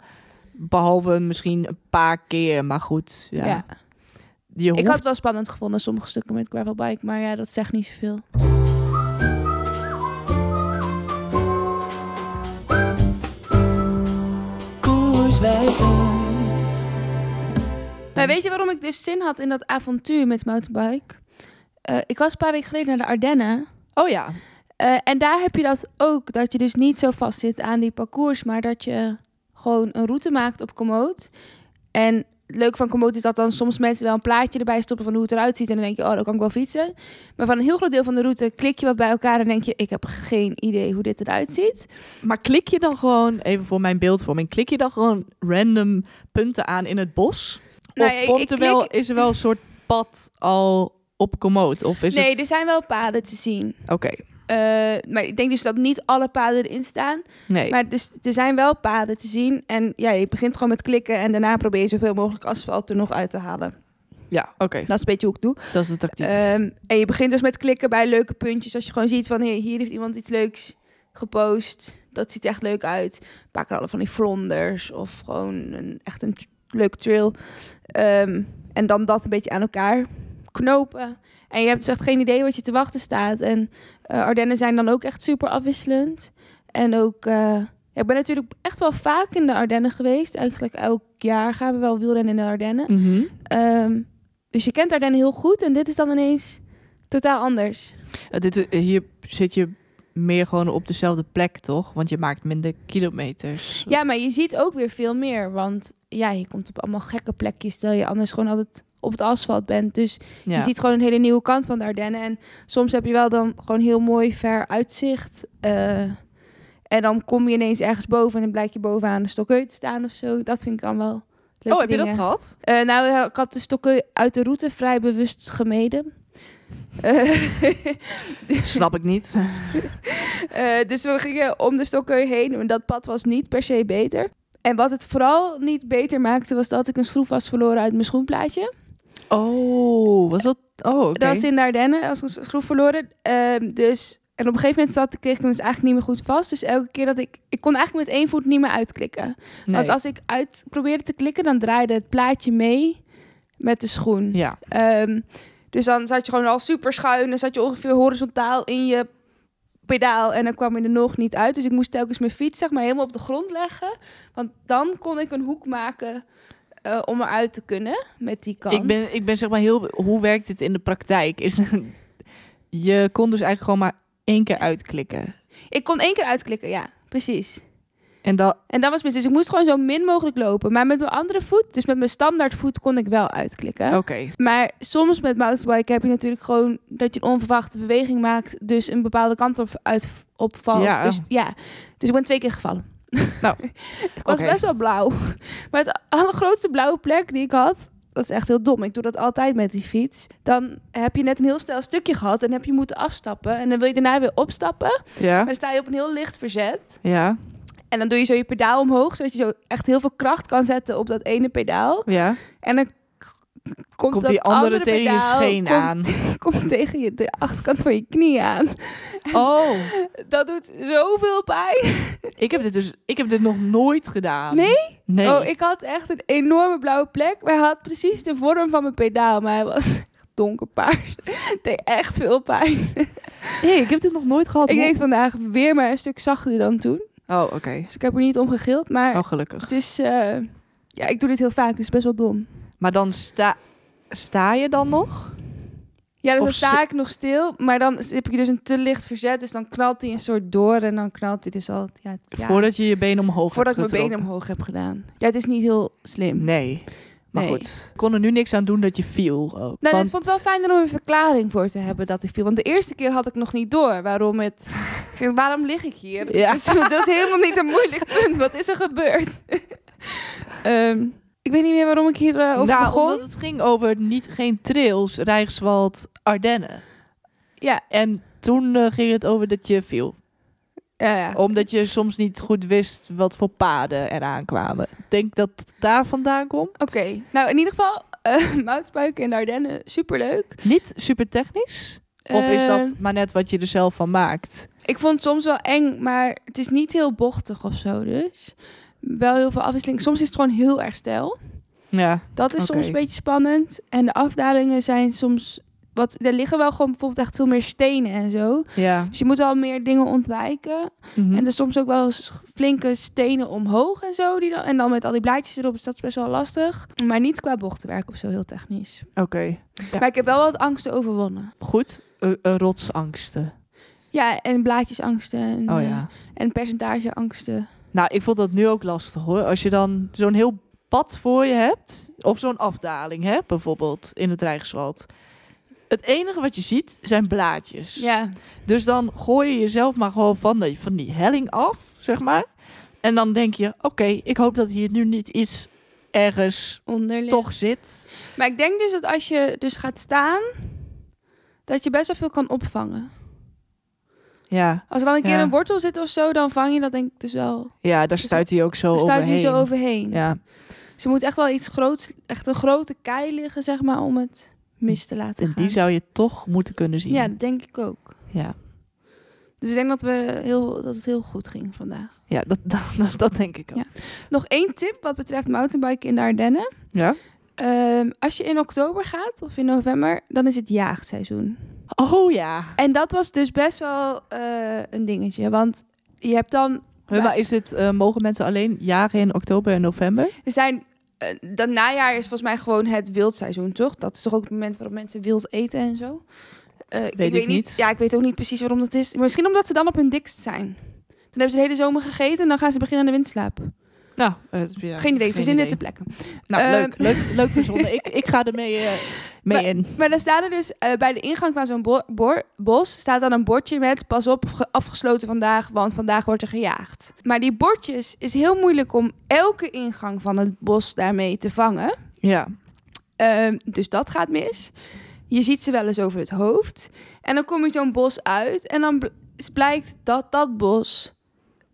[SPEAKER 2] Behalve misschien een paar keer. Maar goed, ja.
[SPEAKER 4] Ja.
[SPEAKER 2] Je
[SPEAKER 4] Ik
[SPEAKER 2] hoeft...
[SPEAKER 4] had het wel spannend gevonden, sommige stukken met gravelbike, maar ja, dat zegt niet zoveel. Maar weet je waarom ik dus zin had in dat avontuur met mountainbike? Eh, ik was een paar weken geleden naar de Ardennen.
[SPEAKER 2] Oh ja,
[SPEAKER 4] Eh, en daar heb je dat ook, dat je dus niet zo vast zit aan die parcours, maar dat je gewoon een route maakt op Komoot. En het leuke van Komoot is dat dan soms mensen wel een plaatje erbij stoppen van hoe het eruit ziet en dan denk je, oh, dat kan ik wel fietsen. Maar van een heel groot deel van de route klik je wat bij elkaar en denk je, ik heb geen idee hoe dit eruit ziet.
[SPEAKER 2] maar klik je dan gewoon, even voor mijn beeldvorming, klik je dan gewoon random punten aan in het bos?
[SPEAKER 4] Nou ja,
[SPEAKER 2] of
[SPEAKER 4] ik-
[SPEAKER 2] vormt
[SPEAKER 4] ik
[SPEAKER 2] er wel,
[SPEAKER 4] klik-
[SPEAKER 2] is er wel een soort pad al op commode? Of is
[SPEAKER 4] nee,
[SPEAKER 2] het...
[SPEAKER 4] er zijn wel paden te zien.
[SPEAKER 2] Oké,
[SPEAKER 4] Eh, maar ik denk dus dat niet alle paden erin staan.
[SPEAKER 2] nee.
[SPEAKER 4] Maar dus, er zijn wel paden te zien. En ja, je begint gewoon met klikken en daarna probeer je zoveel mogelijk asfalt er nog uit te halen.
[SPEAKER 2] Ja, oké.
[SPEAKER 4] Dat is een beetje hoe ik doe.
[SPEAKER 2] Dat is de tactiek.
[SPEAKER 4] Ehm, en je begint dus met klikken bij leuke puntjes. Als je gewoon ziet van hey, hier heeft iemand iets leuks gepost. Dat ziet er echt leuk uit. Een paar keer alle van die vlonders of gewoon een, echt een t- leuk trail. Ehm, en dan dat een beetje aan elkaar knopen. En je hebt dus echt geen idee wat je te wachten staat. En eh, Ardennen zijn dan ook echt super afwisselend. En ook, eh, ja, ik ben natuurlijk echt wel vaak in de Ardennen geweest. Eigenlijk elk jaar gaan we wel wielrennen in de Ardennen.
[SPEAKER 2] Mhm.
[SPEAKER 4] Ehm, dus je kent Ardennen heel goed en dit is dan ineens totaal anders.
[SPEAKER 2] Eh, dit, eh, hier zit je meer gewoon op dezelfde plek, toch? Want je maakt minder kilometers.
[SPEAKER 4] Ja, maar je ziet ook weer veel meer, want ja, je komt op allemaal gekke plekjes terwijl je anders gewoon altijd op het asfalt bent. Dus
[SPEAKER 2] Ja.
[SPEAKER 4] je ziet gewoon een hele nieuwe kant van de Ardennen en soms heb je wel dan gewoon heel mooi ver uitzicht. eh, en dan kom je ineens ergens boven en dan blijkt je bovenaan de stokkeu te staan of zo. Dat vind ik dan wel leuke
[SPEAKER 2] oh, heb je dat
[SPEAKER 4] dingen.
[SPEAKER 2] gehad?
[SPEAKER 4] Eh, nou, ik had de stokken uit de route vrij bewust gemeden.
[SPEAKER 2] Snap ik niet.
[SPEAKER 4] Eh, dus we gingen om de stokken heen en dat pad was niet per se beter. En wat het vooral niet beter maakte, was dat ik een schroef was verloren uit mijn schoenplaatje.
[SPEAKER 2] Oh, was dat? Oh, oké.
[SPEAKER 4] Dat was in Dardenne, als een schroef verloren. Ehm, dus, en op een gegeven moment zat, kreeg ik hem dus eigenlijk niet meer goed vast. Dus elke keer dat ik... Ik kon eigenlijk met één voet niet meer uitklikken. Want als ik uit probeerde te klikken, dan draaide het plaatje mee met de schoen.
[SPEAKER 2] Ja.
[SPEAKER 4] Ehm, dus dan zat je gewoon al super schuin. Dan zat je ongeveer horizontaal in je pedaal. En dan kwam je er nog niet uit. Dus ik moest telkens mijn fiets zeg maar, helemaal op de grond leggen. Want dan kon ik een hoek maken eh, om eruit te kunnen met die kant.
[SPEAKER 2] Ik ben, ik ben zeg maar heel... Hoe werkt dit in de praktijk? Is, je kon dus eigenlijk gewoon maar één keer uitklikken.
[SPEAKER 4] Ik kon één keer uitklikken, ja. Precies.
[SPEAKER 2] En dat...
[SPEAKER 4] En dat was mis. Dus ik moest gewoon zo min mogelijk lopen. Maar met mijn andere voet, dus met mijn standaard voet, kon ik wel uitklikken.
[SPEAKER 2] Oké.
[SPEAKER 4] Maar soms met mountainbike heb je natuurlijk gewoon dat je een onverwachte beweging maakt. Dus een bepaalde kant op uit opvalt.
[SPEAKER 2] Ja.
[SPEAKER 4] Dus, ja. dus ik ben twee keer gevallen.
[SPEAKER 2] Nou,
[SPEAKER 4] ik was
[SPEAKER 2] oké.
[SPEAKER 4] best wel blauw. Maar de allergrootste blauwe plek die ik had, dat is echt heel dom. Ik doe dat altijd met die fiets. Dan heb je net een heel snel stukje gehad en heb je moeten afstappen. En dan wil je daarna weer opstappen. Maar
[SPEAKER 2] Ja.
[SPEAKER 4] dan sta je op een heel licht verzet.
[SPEAKER 2] Ja.
[SPEAKER 4] En dan doe je zo je pedaal omhoog, zodat je zo echt heel veel kracht kan zetten op dat ene pedaal.
[SPEAKER 2] Ja.
[SPEAKER 4] En dan k- komt,
[SPEAKER 2] Komt
[SPEAKER 4] dat
[SPEAKER 2] die andere, tegen je
[SPEAKER 4] pedaal-
[SPEAKER 2] scheen
[SPEAKER 4] komt-
[SPEAKER 2] aan.
[SPEAKER 4] Komt tegen je, de achterkant van je knie aan.
[SPEAKER 2] Oh.
[SPEAKER 4] Dat doet zoveel pijn.
[SPEAKER 2] Ik heb dit dus... Ik heb dit nog nooit gedaan.
[SPEAKER 4] Nee?
[SPEAKER 2] Nee.
[SPEAKER 4] Oh, ik had echt een enorme blauwe plek. Maar hij had precies de vorm van mijn pedaal, maar hij was echt donkerpaars. Het deed echt veel pijn.
[SPEAKER 2] Hey, ik heb dit nog nooit gehad.
[SPEAKER 4] Ik
[SPEAKER 2] Hoe-
[SPEAKER 4] deed vandaag weer maar een stuk zachter dan toen.
[SPEAKER 2] Oh, oké.
[SPEAKER 4] Dus ik heb er niet om gegild, maar
[SPEAKER 2] Oh, gelukkig.
[SPEAKER 4] het is... eh, ja, ik doe dit heel vaak, dus best wel dom.
[SPEAKER 2] Maar dan sta... Sta je dan nog?
[SPEAKER 4] Ja, dus
[SPEAKER 2] Of
[SPEAKER 4] dan
[SPEAKER 2] ze-
[SPEAKER 4] sta ik nog stil, maar dan heb je dus een te licht verzet, dus dan knalt hij een soort door en dan knalt hij dus al... Ja, ja,
[SPEAKER 2] Voordat je je been omhoog
[SPEAKER 4] voordat ik
[SPEAKER 2] hebt
[SPEAKER 4] mijn benen
[SPEAKER 2] getrokken.
[SPEAKER 4] omhoog heb gedaan. Ja, het is niet heel slim.
[SPEAKER 2] Nee. Maar
[SPEAKER 4] Nee.
[SPEAKER 2] goed. Ik kon er nu niks aan doen dat je viel. Ook, nou,
[SPEAKER 4] Nou, ik vond het wel fijn om een verklaring voor te hebben dat ik viel. Want de eerste keer had ik nog niet door waarom het... Ik dacht, waarom lig ik hier?
[SPEAKER 2] Ja.
[SPEAKER 4] Dus dat is helemaal niet een moeilijk punt. Wat is er gebeurd? Ehm, ik weet niet meer waarom ik hier eh, over
[SPEAKER 2] nou,
[SPEAKER 4] begon.
[SPEAKER 2] omdat het ging over niet, geen trails, Rijkswald, Ardennen.
[SPEAKER 4] Ja.
[SPEAKER 2] En toen eh, ging het over dat je viel.
[SPEAKER 4] Ja, ja.
[SPEAKER 2] Omdat je soms niet goed wist wat voor paden eraan kwamen. Ik denk dat het daar vandaan komt.
[SPEAKER 4] Oké, nou in ieder geval, eh moutbuiken in de Ardennen, superleuk.
[SPEAKER 2] Niet super technisch. Eh. Of is
[SPEAKER 4] Ehm,
[SPEAKER 2] dat maar net wat je er zelf van maakt?
[SPEAKER 4] Ik vond het soms wel eng, maar het is niet heel bochtig of zo dus. Wel heel veel afwisseling. Soms is het gewoon heel erg stijl.
[SPEAKER 2] Ja.
[SPEAKER 4] Dat is
[SPEAKER 2] Oké.
[SPEAKER 4] soms een beetje spannend. En de afdalingen zijn soms... Wat, er liggen wel gewoon bijvoorbeeld echt veel meer stenen en zo.
[SPEAKER 2] Ja.
[SPEAKER 4] Dus je moet wel meer dingen ontwijken.
[SPEAKER 2] Mhm.
[SPEAKER 4] En er soms ook wel eens flinke stenen omhoog en zo. Die dan, en dan met al die blaadjes erop, dus dat is best wel lastig. Maar niet qua bochtenwerk of zo, heel technisch.
[SPEAKER 2] Oké. Ja.
[SPEAKER 4] Maar ik heb wel wat angsten overwonnen.
[SPEAKER 2] Goed. Eh, eh, rotsangsten.
[SPEAKER 4] Ja, en blaadjesangsten en,
[SPEAKER 2] Oh
[SPEAKER 4] eh,
[SPEAKER 2] ja.
[SPEAKER 4] en percentageangsten.
[SPEAKER 2] Nou, ik vond dat nu ook lastig hoor. Als je dan zo'n heel pad voor je hebt, of zo'n afdaling hè, bijvoorbeeld in het Rijkswald. Het enige wat je ziet zijn blaadjes.
[SPEAKER 4] Ja,
[SPEAKER 2] Dus dan gooi je jezelf maar gewoon van, die- van die helling af, zeg maar. En dan denk je, oké, ik hoop dat hier nu niet iets ergens
[SPEAKER 4] onderling.
[SPEAKER 2] toch zit.
[SPEAKER 4] Maar ik denk dus dat als je dus gaat staan, dat je best wel veel kan opvangen.
[SPEAKER 2] Ja,
[SPEAKER 4] Als er dan een keer
[SPEAKER 2] Ja.
[SPEAKER 4] een wortel zit of zo, dan vang je dat denk ik dus wel.
[SPEAKER 2] ja daar stuit hij ook zo
[SPEAKER 4] Dan stuit je
[SPEAKER 2] overheen.
[SPEAKER 4] zo overheen.
[SPEAKER 2] Ja,
[SPEAKER 4] Ze moet echt wel iets groots, echt een grote kei liggen, zeg maar, om het mis te laten
[SPEAKER 2] en
[SPEAKER 4] gaan.
[SPEAKER 2] die zou je toch moeten kunnen zien.
[SPEAKER 4] Ja, dat denk ik ook.
[SPEAKER 2] ja.
[SPEAKER 4] Dus ik denk dat, we heel, dat het heel goed ging vandaag.
[SPEAKER 2] ja dat, dat, dat denk ik ook.
[SPEAKER 4] Ja. Nog één tip wat betreft mountainbiken in de Ardennen.
[SPEAKER 2] ja?
[SPEAKER 4] Ehm, als je in oktober gaat of in november, dan is het jaagseizoen.
[SPEAKER 2] Oh ja.
[SPEAKER 4] En dat was dus best wel eh, een dingetje. Want je hebt dan
[SPEAKER 2] Hé, maar is dit, eh, mogen mensen alleen jagen in oktober en november?
[SPEAKER 4] Er zijn, eh, dat najaar is volgens mij gewoon het wildseizoen, toch? Dat is toch ook het moment waarop mensen wild eten en zo? Eh,
[SPEAKER 2] Weet ik niet.
[SPEAKER 4] Ja, ik weet ook niet precies waarom dat is. Maar misschien omdat ze dan op hun dikst zijn. Dan hebben ze de hele zomer gegeten en dan gaan ze beginnen aan de windslaap.
[SPEAKER 2] Nou,
[SPEAKER 4] eh, geen idee, we zinnen het te plekken.
[SPEAKER 2] Nou,
[SPEAKER 4] Eh,
[SPEAKER 2] leuk, leuk, leuk verzonnen. ik, ik ga er mee, eh, mee
[SPEAKER 4] Maar-
[SPEAKER 2] in.
[SPEAKER 4] Maar dan staan er dus eh, bij de ingang van zo'n bo- boor- bos staat dan een bordje met pas op ge- afgesloten vandaag, want vandaag wordt er gejaagd. Maar die bordjes is heel moeilijk om elke ingang van het bos daarmee te vangen.
[SPEAKER 2] Ja.
[SPEAKER 4] Ehm, dus dat gaat mis. je ziet ze wel eens over het hoofd. En dan kom je zo'n bos uit en dan bl- blijkt dat dat bos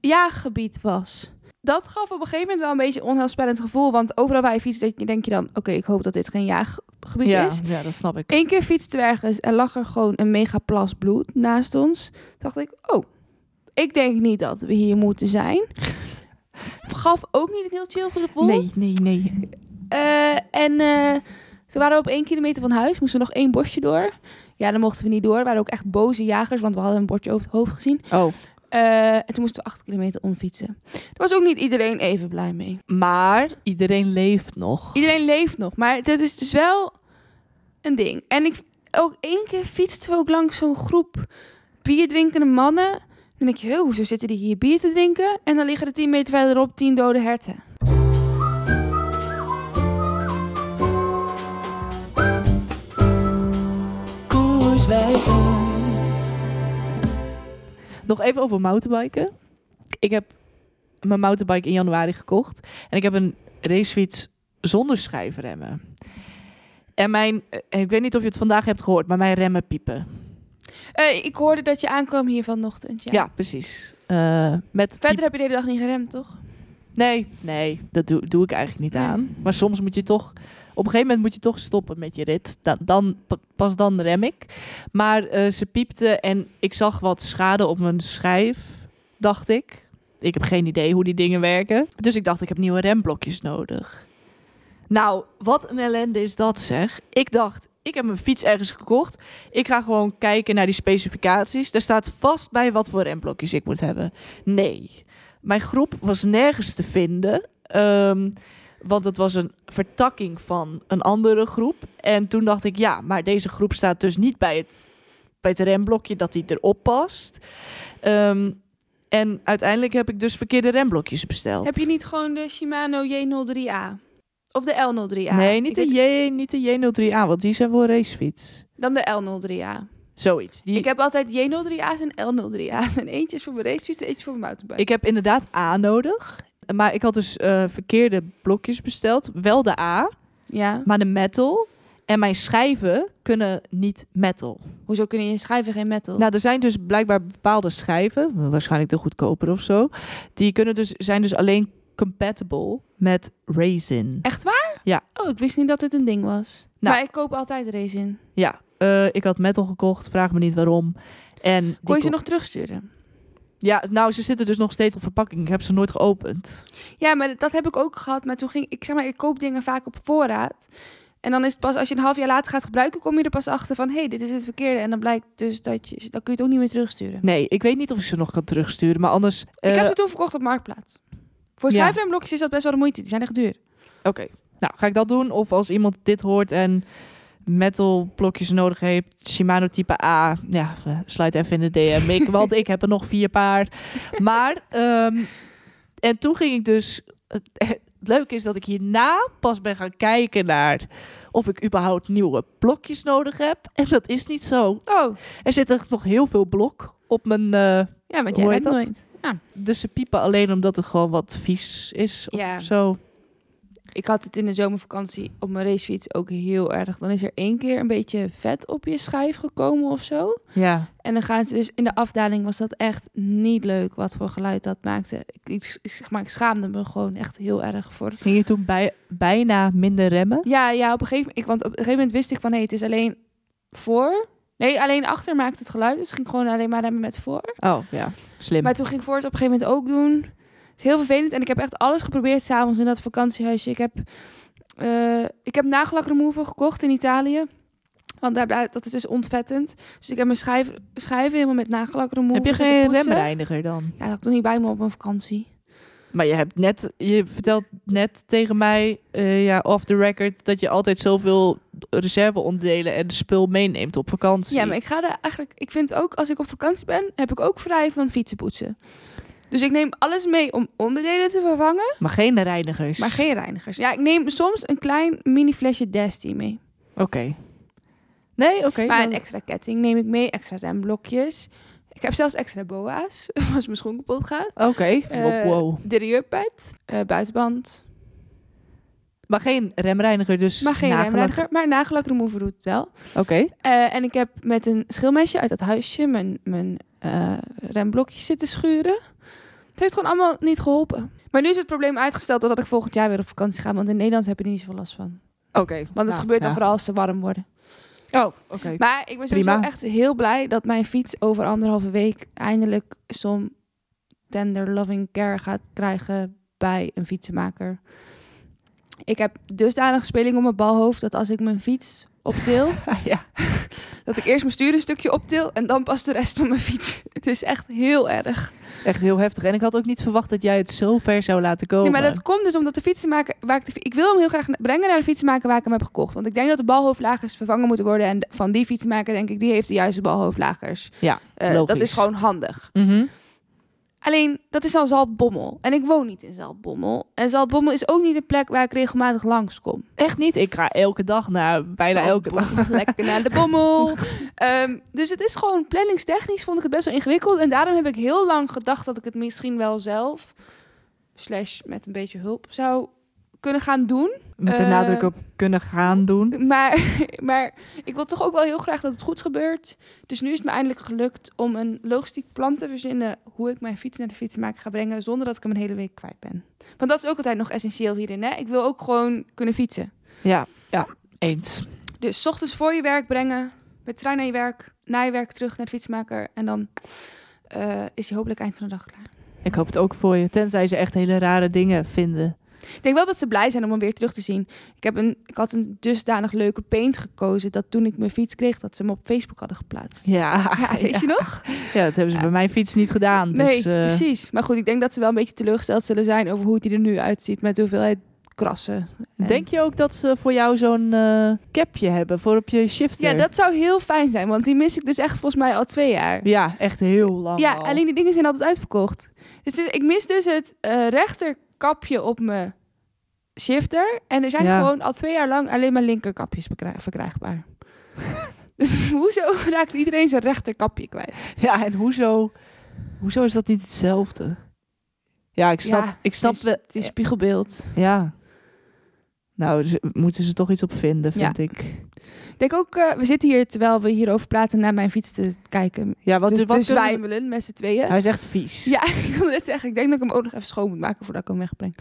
[SPEAKER 4] jaaggebied was. Dat gaf op een gegeven moment wel een beetje een onheilspellend gevoel. Want overal waar je fietst denk je- denk je dan... oké, ik hoop dat dit geen jaaggebied
[SPEAKER 2] Ja,
[SPEAKER 4] is.
[SPEAKER 2] ja, dat snap ik.
[SPEAKER 4] Eén keer fietsten we ergens en lag er gewoon een mega plas bloed naast ons. Toen dacht ik, oh, ik denk niet dat we hier moeten zijn. Gaf ook niet een heel chill gevoel.
[SPEAKER 2] Nee, nee, nee.
[SPEAKER 4] Eh, en eh toen waren we op één kilometer van huis, moesten we nog één bosje door. Ja, dan mochten we niet door. We waren ook echt boze jagers, want we hadden een bordje over het hoofd gezien.
[SPEAKER 2] Oh,
[SPEAKER 4] Eh, en toen moesten we acht kilometer omfietsen. Daar was ook niet iedereen even blij mee.
[SPEAKER 2] maar iedereen leeft nog.
[SPEAKER 4] Iedereen leeft nog, maar dat is dus wel een ding. En ik, ook één keer fietsten we ook langs zo'n groep bierdrinkende mannen. Dan denk je, "Huh, hoezo zitten die hier bier te drinken? En dan liggen er tien meter verderop tien dode herten.
[SPEAKER 2] Nog even over mountainbiken. Ik heb mijn mountainbike in januari gekocht. En ik heb een racefiets zonder schijfremmen. En mijn, eh, ik weet niet of je het vandaag hebt gehoord, maar mijn remmen piepen.
[SPEAKER 4] Eh, ik hoorde dat je aankwam hier vanochtend.
[SPEAKER 2] Ja,
[SPEAKER 4] Ja.
[SPEAKER 2] precies. Eh, met
[SPEAKER 4] Verder heb je de hele dag niet geremd, toch?
[SPEAKER 2] Nee, nee, dat doe, doe ik eigenlijk niet
[SPEAKER 4] Nee.
[SPEAKER 2] aan. Maar soms moet je toch... Op een gegeven moment moet je toch stoppen met je rit. Dan, dan, pa- pas dan rem ik. Maar eh, ze piepte en ik zag wat schade op mijn schijf, dacht ik. Ik heb geen idee hoe die dingen werken. Dus ik dacht, ik heb nieuwe remblokjes nodig. Nou, wat een ellende is dat zeg. Ik dacht, ik heb mijn fiets ergens gekocht. Ik ga gewoon kijken naar die specificaties. Daar staat vast bij wat voor remblokjes ik moet hebben. Nee, mijn groep was nergens te vinden. ehm, want het was een vertakking van een andere groep. En toen dacht ik, ja, maar deze groep staat dus niet bij het, bij het remblokje dat die erop past. Ehm, en uiteindelijk heb ik dus verkeerde remblokjes besteld.
[SPEAKER 4] Heb je niet gewoon de Shimano J03A? Of de L03A?
[SPEAKER 2] nee, niet
[SPEAKER 4] Ik
[SPEAKER 2] de,
[SPEAKER 4] weet-
[SPEAKER 2] J, niet de J03A, want die zijn wel racefiets.
[SPEAKER 4] Dan de L03A.
[SPEAKER 2] Zoiets. Die,
[SPEAKER 4] Ik heb altijd J03A's en L03A's. En eentje is voor mijn racefiets, eentje voor mijn mountainbike.
[SPEAKER 2] Ik heb inderdaad A nodig. Maar ik had dus eh, verkeerde blokjes besteld. Wel de A,
[SPEAKER 4] Ja.
[SPEAKER 2] maar de metal. En mijn schijven kunnen niet metal.
[SPEAKER 4] Hoezo kunnen je schrijven geen metal?
[SPEAKER 2] Nou, er zijn dus blijkbaar bepaalde schijven, waarschijnlijk de goedkoper of zo. Die kunnen dus, zijn dus alleen compatible met resin.
[SPEAKER 4] Echt waar?
[SPEAKER 2] Ja.
[SPEAKER 4] Oh, ik wist niet dat dit een ding was.
[SPEAKER 2] Nou.
[SPEAKER 4] Maar ik koop altijd resin.
[SPEAKER 2] Ja, eh, ik had metal gekocht, vraag me niet waarom. En die
[SPEAKER 4] Kon je ze
[SPEAKER 2] ko-
[SPEAKER 4] nog terugsturen?
[SPEAKER 2] Ja, nou, ze zitten dus nog steeds op verpakking. Ik heb ze nooit geopend.
[SPEAKER 4] Ja, maar dat heb ik ook gehad. Maar toen ging ik, zeg maar, ik koop dingen vaak op voorraad. En dan is het pas, als je een half jaar later gaat gebruiken, kom je er pas achter van, hé, hey, dit is het verkeerde. En dan blijkt dus dat je, dan kun je het ook niet meer terugsturen.
[SPEAKER 2] Nee, ik weet niet of ik ze nog kan terugsturen, maar anders...
[SPEAKER 4] Ik
[SPEAKER 2] eh,
[SPEAKER 4] heb ze toen verkocht op Marktplaats. Voor
[SPEAKER 2] Ja.
[SPEAKER 4] schijfremblokjes is dat best wel de moeite. Die zijn echt duur.
[SPEAKER 2] Oké, nou ga ik dat doen. Of als iemand dit hoort en metal blokjes nodig heeft, Shimano type A, ja, eh, sluit even in de DM. Ik, want ik heb er nog vier paar. Maar, ehm, en toen ging ik dus, het leuke is dat ik hierna pas ben gaan kijken naar of ik überhaupt nieuwe blokjes nodig heb. En dat is niet zo.
[SPEAKER 4] Oh,
[SPEAKER 2] Er zit echt nog heel veel blok op mijn, eh,
[SPEAKER 4] ja, want
[SPEAKER 2] jij
[SPEAKER 4] jij hebt
[SPEAKER 2] Hoe heet redt dat?
[SPEAKER 4] nooit.
[SPEAKER 2] nooit. dus ze piepen alleen omdat het gewoon wat vies is of
[SPEAKER 4] Ja.
[SPEAKER 2] zo.
[SPEAKER 4] Ik had het in de zomervakantie op mijn racefiets ook heel erg. Dan is er één keer een beetje vet op je schijf gekomen of zo.
[SPEAKER 2] Ja.
[SPEAKER 4] En dan gaan ze dus in de afdaling was dat echt niet leuk wat voor geluid dat maakte. Ik, ik, ik zeg maar, ik schaamde me gewoon echt heel erg voor.
[SPEAKER 2] Ging je toen bij, bijna minder remmen?
[SPEAKER 4] Ja, ja, op een gegeven moment, ik, want op een gegeven moment wist ik van hé, het is alleen voor. Nee, alleen achter maakt het geluid. Dus het ging gewoon alleen maar remmen met voor.
[SPEAKER 2] Oh ja, slim.
[SPEAKER 4] Maar toen ging ik voor het op een gegeven moment ook doen. Het is heel vervelend. En ik heb echt alles geprobeerd s'avonds in dat vakantiehuisje. Ik heb, eh ik heb nagelak remover gekocht in Italië. Want daar, dat is dus ontvettend. Dus ik heb mijn schijf, schijven helemaal met nagelak remover
[SPEAKER 2] Heb je
[SPEAKER 4] zitten
[SPEAKER 2] geen
[SPEAKER 4] poetsen.
[SPEAKER 2] remreiniger dan?
[SPEAKER 4] Ja, dat had ik toch niet bij me op mijn vakantie.
[SPEAKER 2] Maar je hebt net, je vertelt net tegen mij, eh, ja, off the record, dat je altijd zoveel reserveonderdelen en spul meeneemt op vakantie.
[SPEAKER 4] Ja, maar ik ga er eigenlijk... Ik vind ook, als ik op vakantie ben, heb ik ook vrij van fietsen poetsen. Dus ik neem alles mee om onderdelen te vervangen,
[SPEAKER 2] Maar geen reinigers.
[SPEAKER 4] maar geen reinigers. Ja, ik neem soms een klein mini flesje Desti mee.
[SPEAKER 2] Oké. Nee, oké.
[SPEAKER 4] Maar een
[SPEAKER 2] dan-
[SPEAKER 4] extra ketting neem ik mee, extra remblokjes. Ik heb zelfs extra boa's, als mijn schoen kapot gaat.
[SPEAKER 2] Oké.
[SPEAKER 4] Eh,
[SPEAKER 2] Wow, wow.
[SPEAKER 4] De rieurpet, eh, buitenband.
[SPEAKER 2] Maar geen remreiniger, dus
[SPEAKER 4] Maar geen
[SPEAKER 2] nagellak.
[SPEAKER 4] remreiniger, maar nagellakremover doet het wel.
[SPEAKER 2] Oké.
[SPEAKER 4] Eh, en ik heb met een schilmesje uit dat huisje mijn, mijn eh, remblokjes zitten schuren. Het heeft gewoon allemaal niet geholpen. Maar nu is het probleem uitgesteld totdat ik volgend jaar weer op vakantie ga. Want in Nederland heb je er niet zoveel last van.
[SPEAKER 2] Oké.
[SPEAKER 4] Want
[SPEAKER 2] Nou,
[SPEAKER 4] het gebeurt dan vooral als ze warm worden.
[SPEAKER 2] Oh, oké.
[SPEAKER 4] Maar ik ben sowieso
[SPEAKER 2] Prima.
[SPEAKER 4] echt heel blij dat mijn fiets over anderhalve week eindelijk zo'n tender loving care gaat krijgen bij een fietsenmaker. Ik heb dusdanig speling op mijn balhoofd dat als ik mijn fiets optil,
[SPEAKER 2] ja.
[SPEAKER 4] dat ik eerst mijn stuur een stukje optil en dan pas de rest van mijn fiets. Het is echt heel erg.
[SPEAKER 2] Echt heel heftig. En ik had ook niet verwacht dat jij het zo ver zou laten
[SPEAKER 4] Nee,
[SPEAKER 2] komen.
[SPEAKER 4] maar dat komt dus omdat de fietsenmaker... Waar ik, de, fi- ik wil hem heel graag na- brengen naar de fietsenmaker waar ik hem heb gekocht. Want ik denk dat de balhoofdlagers vervangen moeten worden. En de- van die fietsenmaker denk ik, die heeft de juiste balhoofdlagers.
[SPEAKER 2] Ja,
[SPEAKER 4] Eh, Dat
[SPEAKER 2] logisch.
[SPEAKER 4] is gewoon handig.
[SPEAKER 2] Mhm.
[SPEAKER 4] Alleen, dat is dan Zaltbommel. En ik woon niet in Zaltbommel. En Zaltbommel is ook niet een plek waar ik regelmatig langskom.
[SPEAKER 2] Echt niet. Ik ga elke dag naar bijna elke dag.
[SPEAKER 4] Zaltbommel, Lekker naar de bommel. Ehm, dus het is gewoon planningstechnisch vond ik het best wel ingewikkeld. En daarom heb ik heel lang gedacht dat ik het misschien wel zelf... slash met een beetje hulp zou kunnen gaan doen.
[SPEAKER 2] Met de
[SPEAKER 4] Eh,
[SPEAKER 2] nadruk op kunnen gaan doen.
[SPEAKER 4] Maar, maar ik wil toch ook wel heel graag dat het goed gebeurt. Dus nu is het me eindelijk gelukt om een logistiek plan te verzinnen... hoe ik mijn fiets naar de fietsenmaker ga brengen... zonder dat ik hem een hele week kwijt ben. Want dat is ook altijd nog essentieel hierin. Hè? Ik wil ook gewoon kunnen fietsen.
[SPEAKER 2] Ja, ja, eens.
[SPEAKER 4] Dus 's ochtends voor je werk brengen, met trein naar je werk... na je werk terug naar de fietsmaker... en dan eh, is hij hopelijk eind van de dag klaar.
[SPEAKER 2] Ik hoop het ook voor je. Tenzij ze echt hele rare dingen vinden.
[SPEAKER 4] Ik denk wel dat ze blij zijn om hem weer terug te zien. Ik, heb een, ik had een dusdanig leuke paint gekozen... dat toen ik mijn fiets kreeg, dat ze hem op Facebook hadden geplaatst.
[SPEAKER 2] Ja,
[SPEAKER 4] Ja, weet je nog?
[SPEAKER 2] Ja, dat hebben ze bij mijn fiets niet gedaan.
[SPEAKER 4] Nee,
[SPEAKER 2] dus, eh,
[SPEAKER 4] precies. Maar goed, ik denk dat ze wel een beetje teleurgesteld zullen zijn over hoe het die er nu uitziet met de hoeveelheid krassen. En-
[SPEAKER 2] Denk je ook dat ze voor jou zo'n eh capje hebben voor op je shifter?
[SPEAKER 4] Ja, dat zou heel fijn zijn, want die mis ik dus echt volgens mij al twee jaar.
[SPEAKER 2] Ja, echt heel lang
[SPEAKER 4] Ja,
[SPEAKER 2] al.
[SPEAKER 4] alleen die dingen zijn altijd uitverkocht. Dus het- ik mis dus het eh, rechterkapje op mijn shifter. En er zijn
[SPEAKER 2] Ja.
[SPEAKER 4] gewoon al twee jaar lang alleen maar linkerkapjes bekra- verkrijgbaar. dus hoezo raakt iedereen zijn rechterkapje kwijt?
[SPEAKER 2] Ja, en hoezo, hoezo is dat niet hetzelfde? Ja, ik snap,
[SPEAKER 4] Ja,
[SPEAKER 2] ik snap
[SPEAKER 4] het is,
[SPEAKER 2] de-
[SPEAKER 4] het is spiegelbeeld.
[SPEAKER 2] Ja. Nou, ze- moeten ze toch iets op vinden,
[SPEAKER 4] Ja.
[SPEAKER 2] vind ik.
[SPEAKER 4] Ik denk ook, eh, we zitten hier terwijl we hierover praten naar mijn fiets te kijken.
[SPEAKER 2] Ja, wat,
[SPEAKER 4] dus
[SPEAKER 2] wat kunnen
[SPEAKER 4] te
[SPEAKER 2] we-
[SPEAKER 4] zwijmelen met z'n tweeën.
[SPEAKER 2] Hij is echt vies.
[SPEAKER 4] Ja, ik wilde net zeggen, ik denk dat ik hem ook nog even schoon moet maken voordat ik hem wegbreng.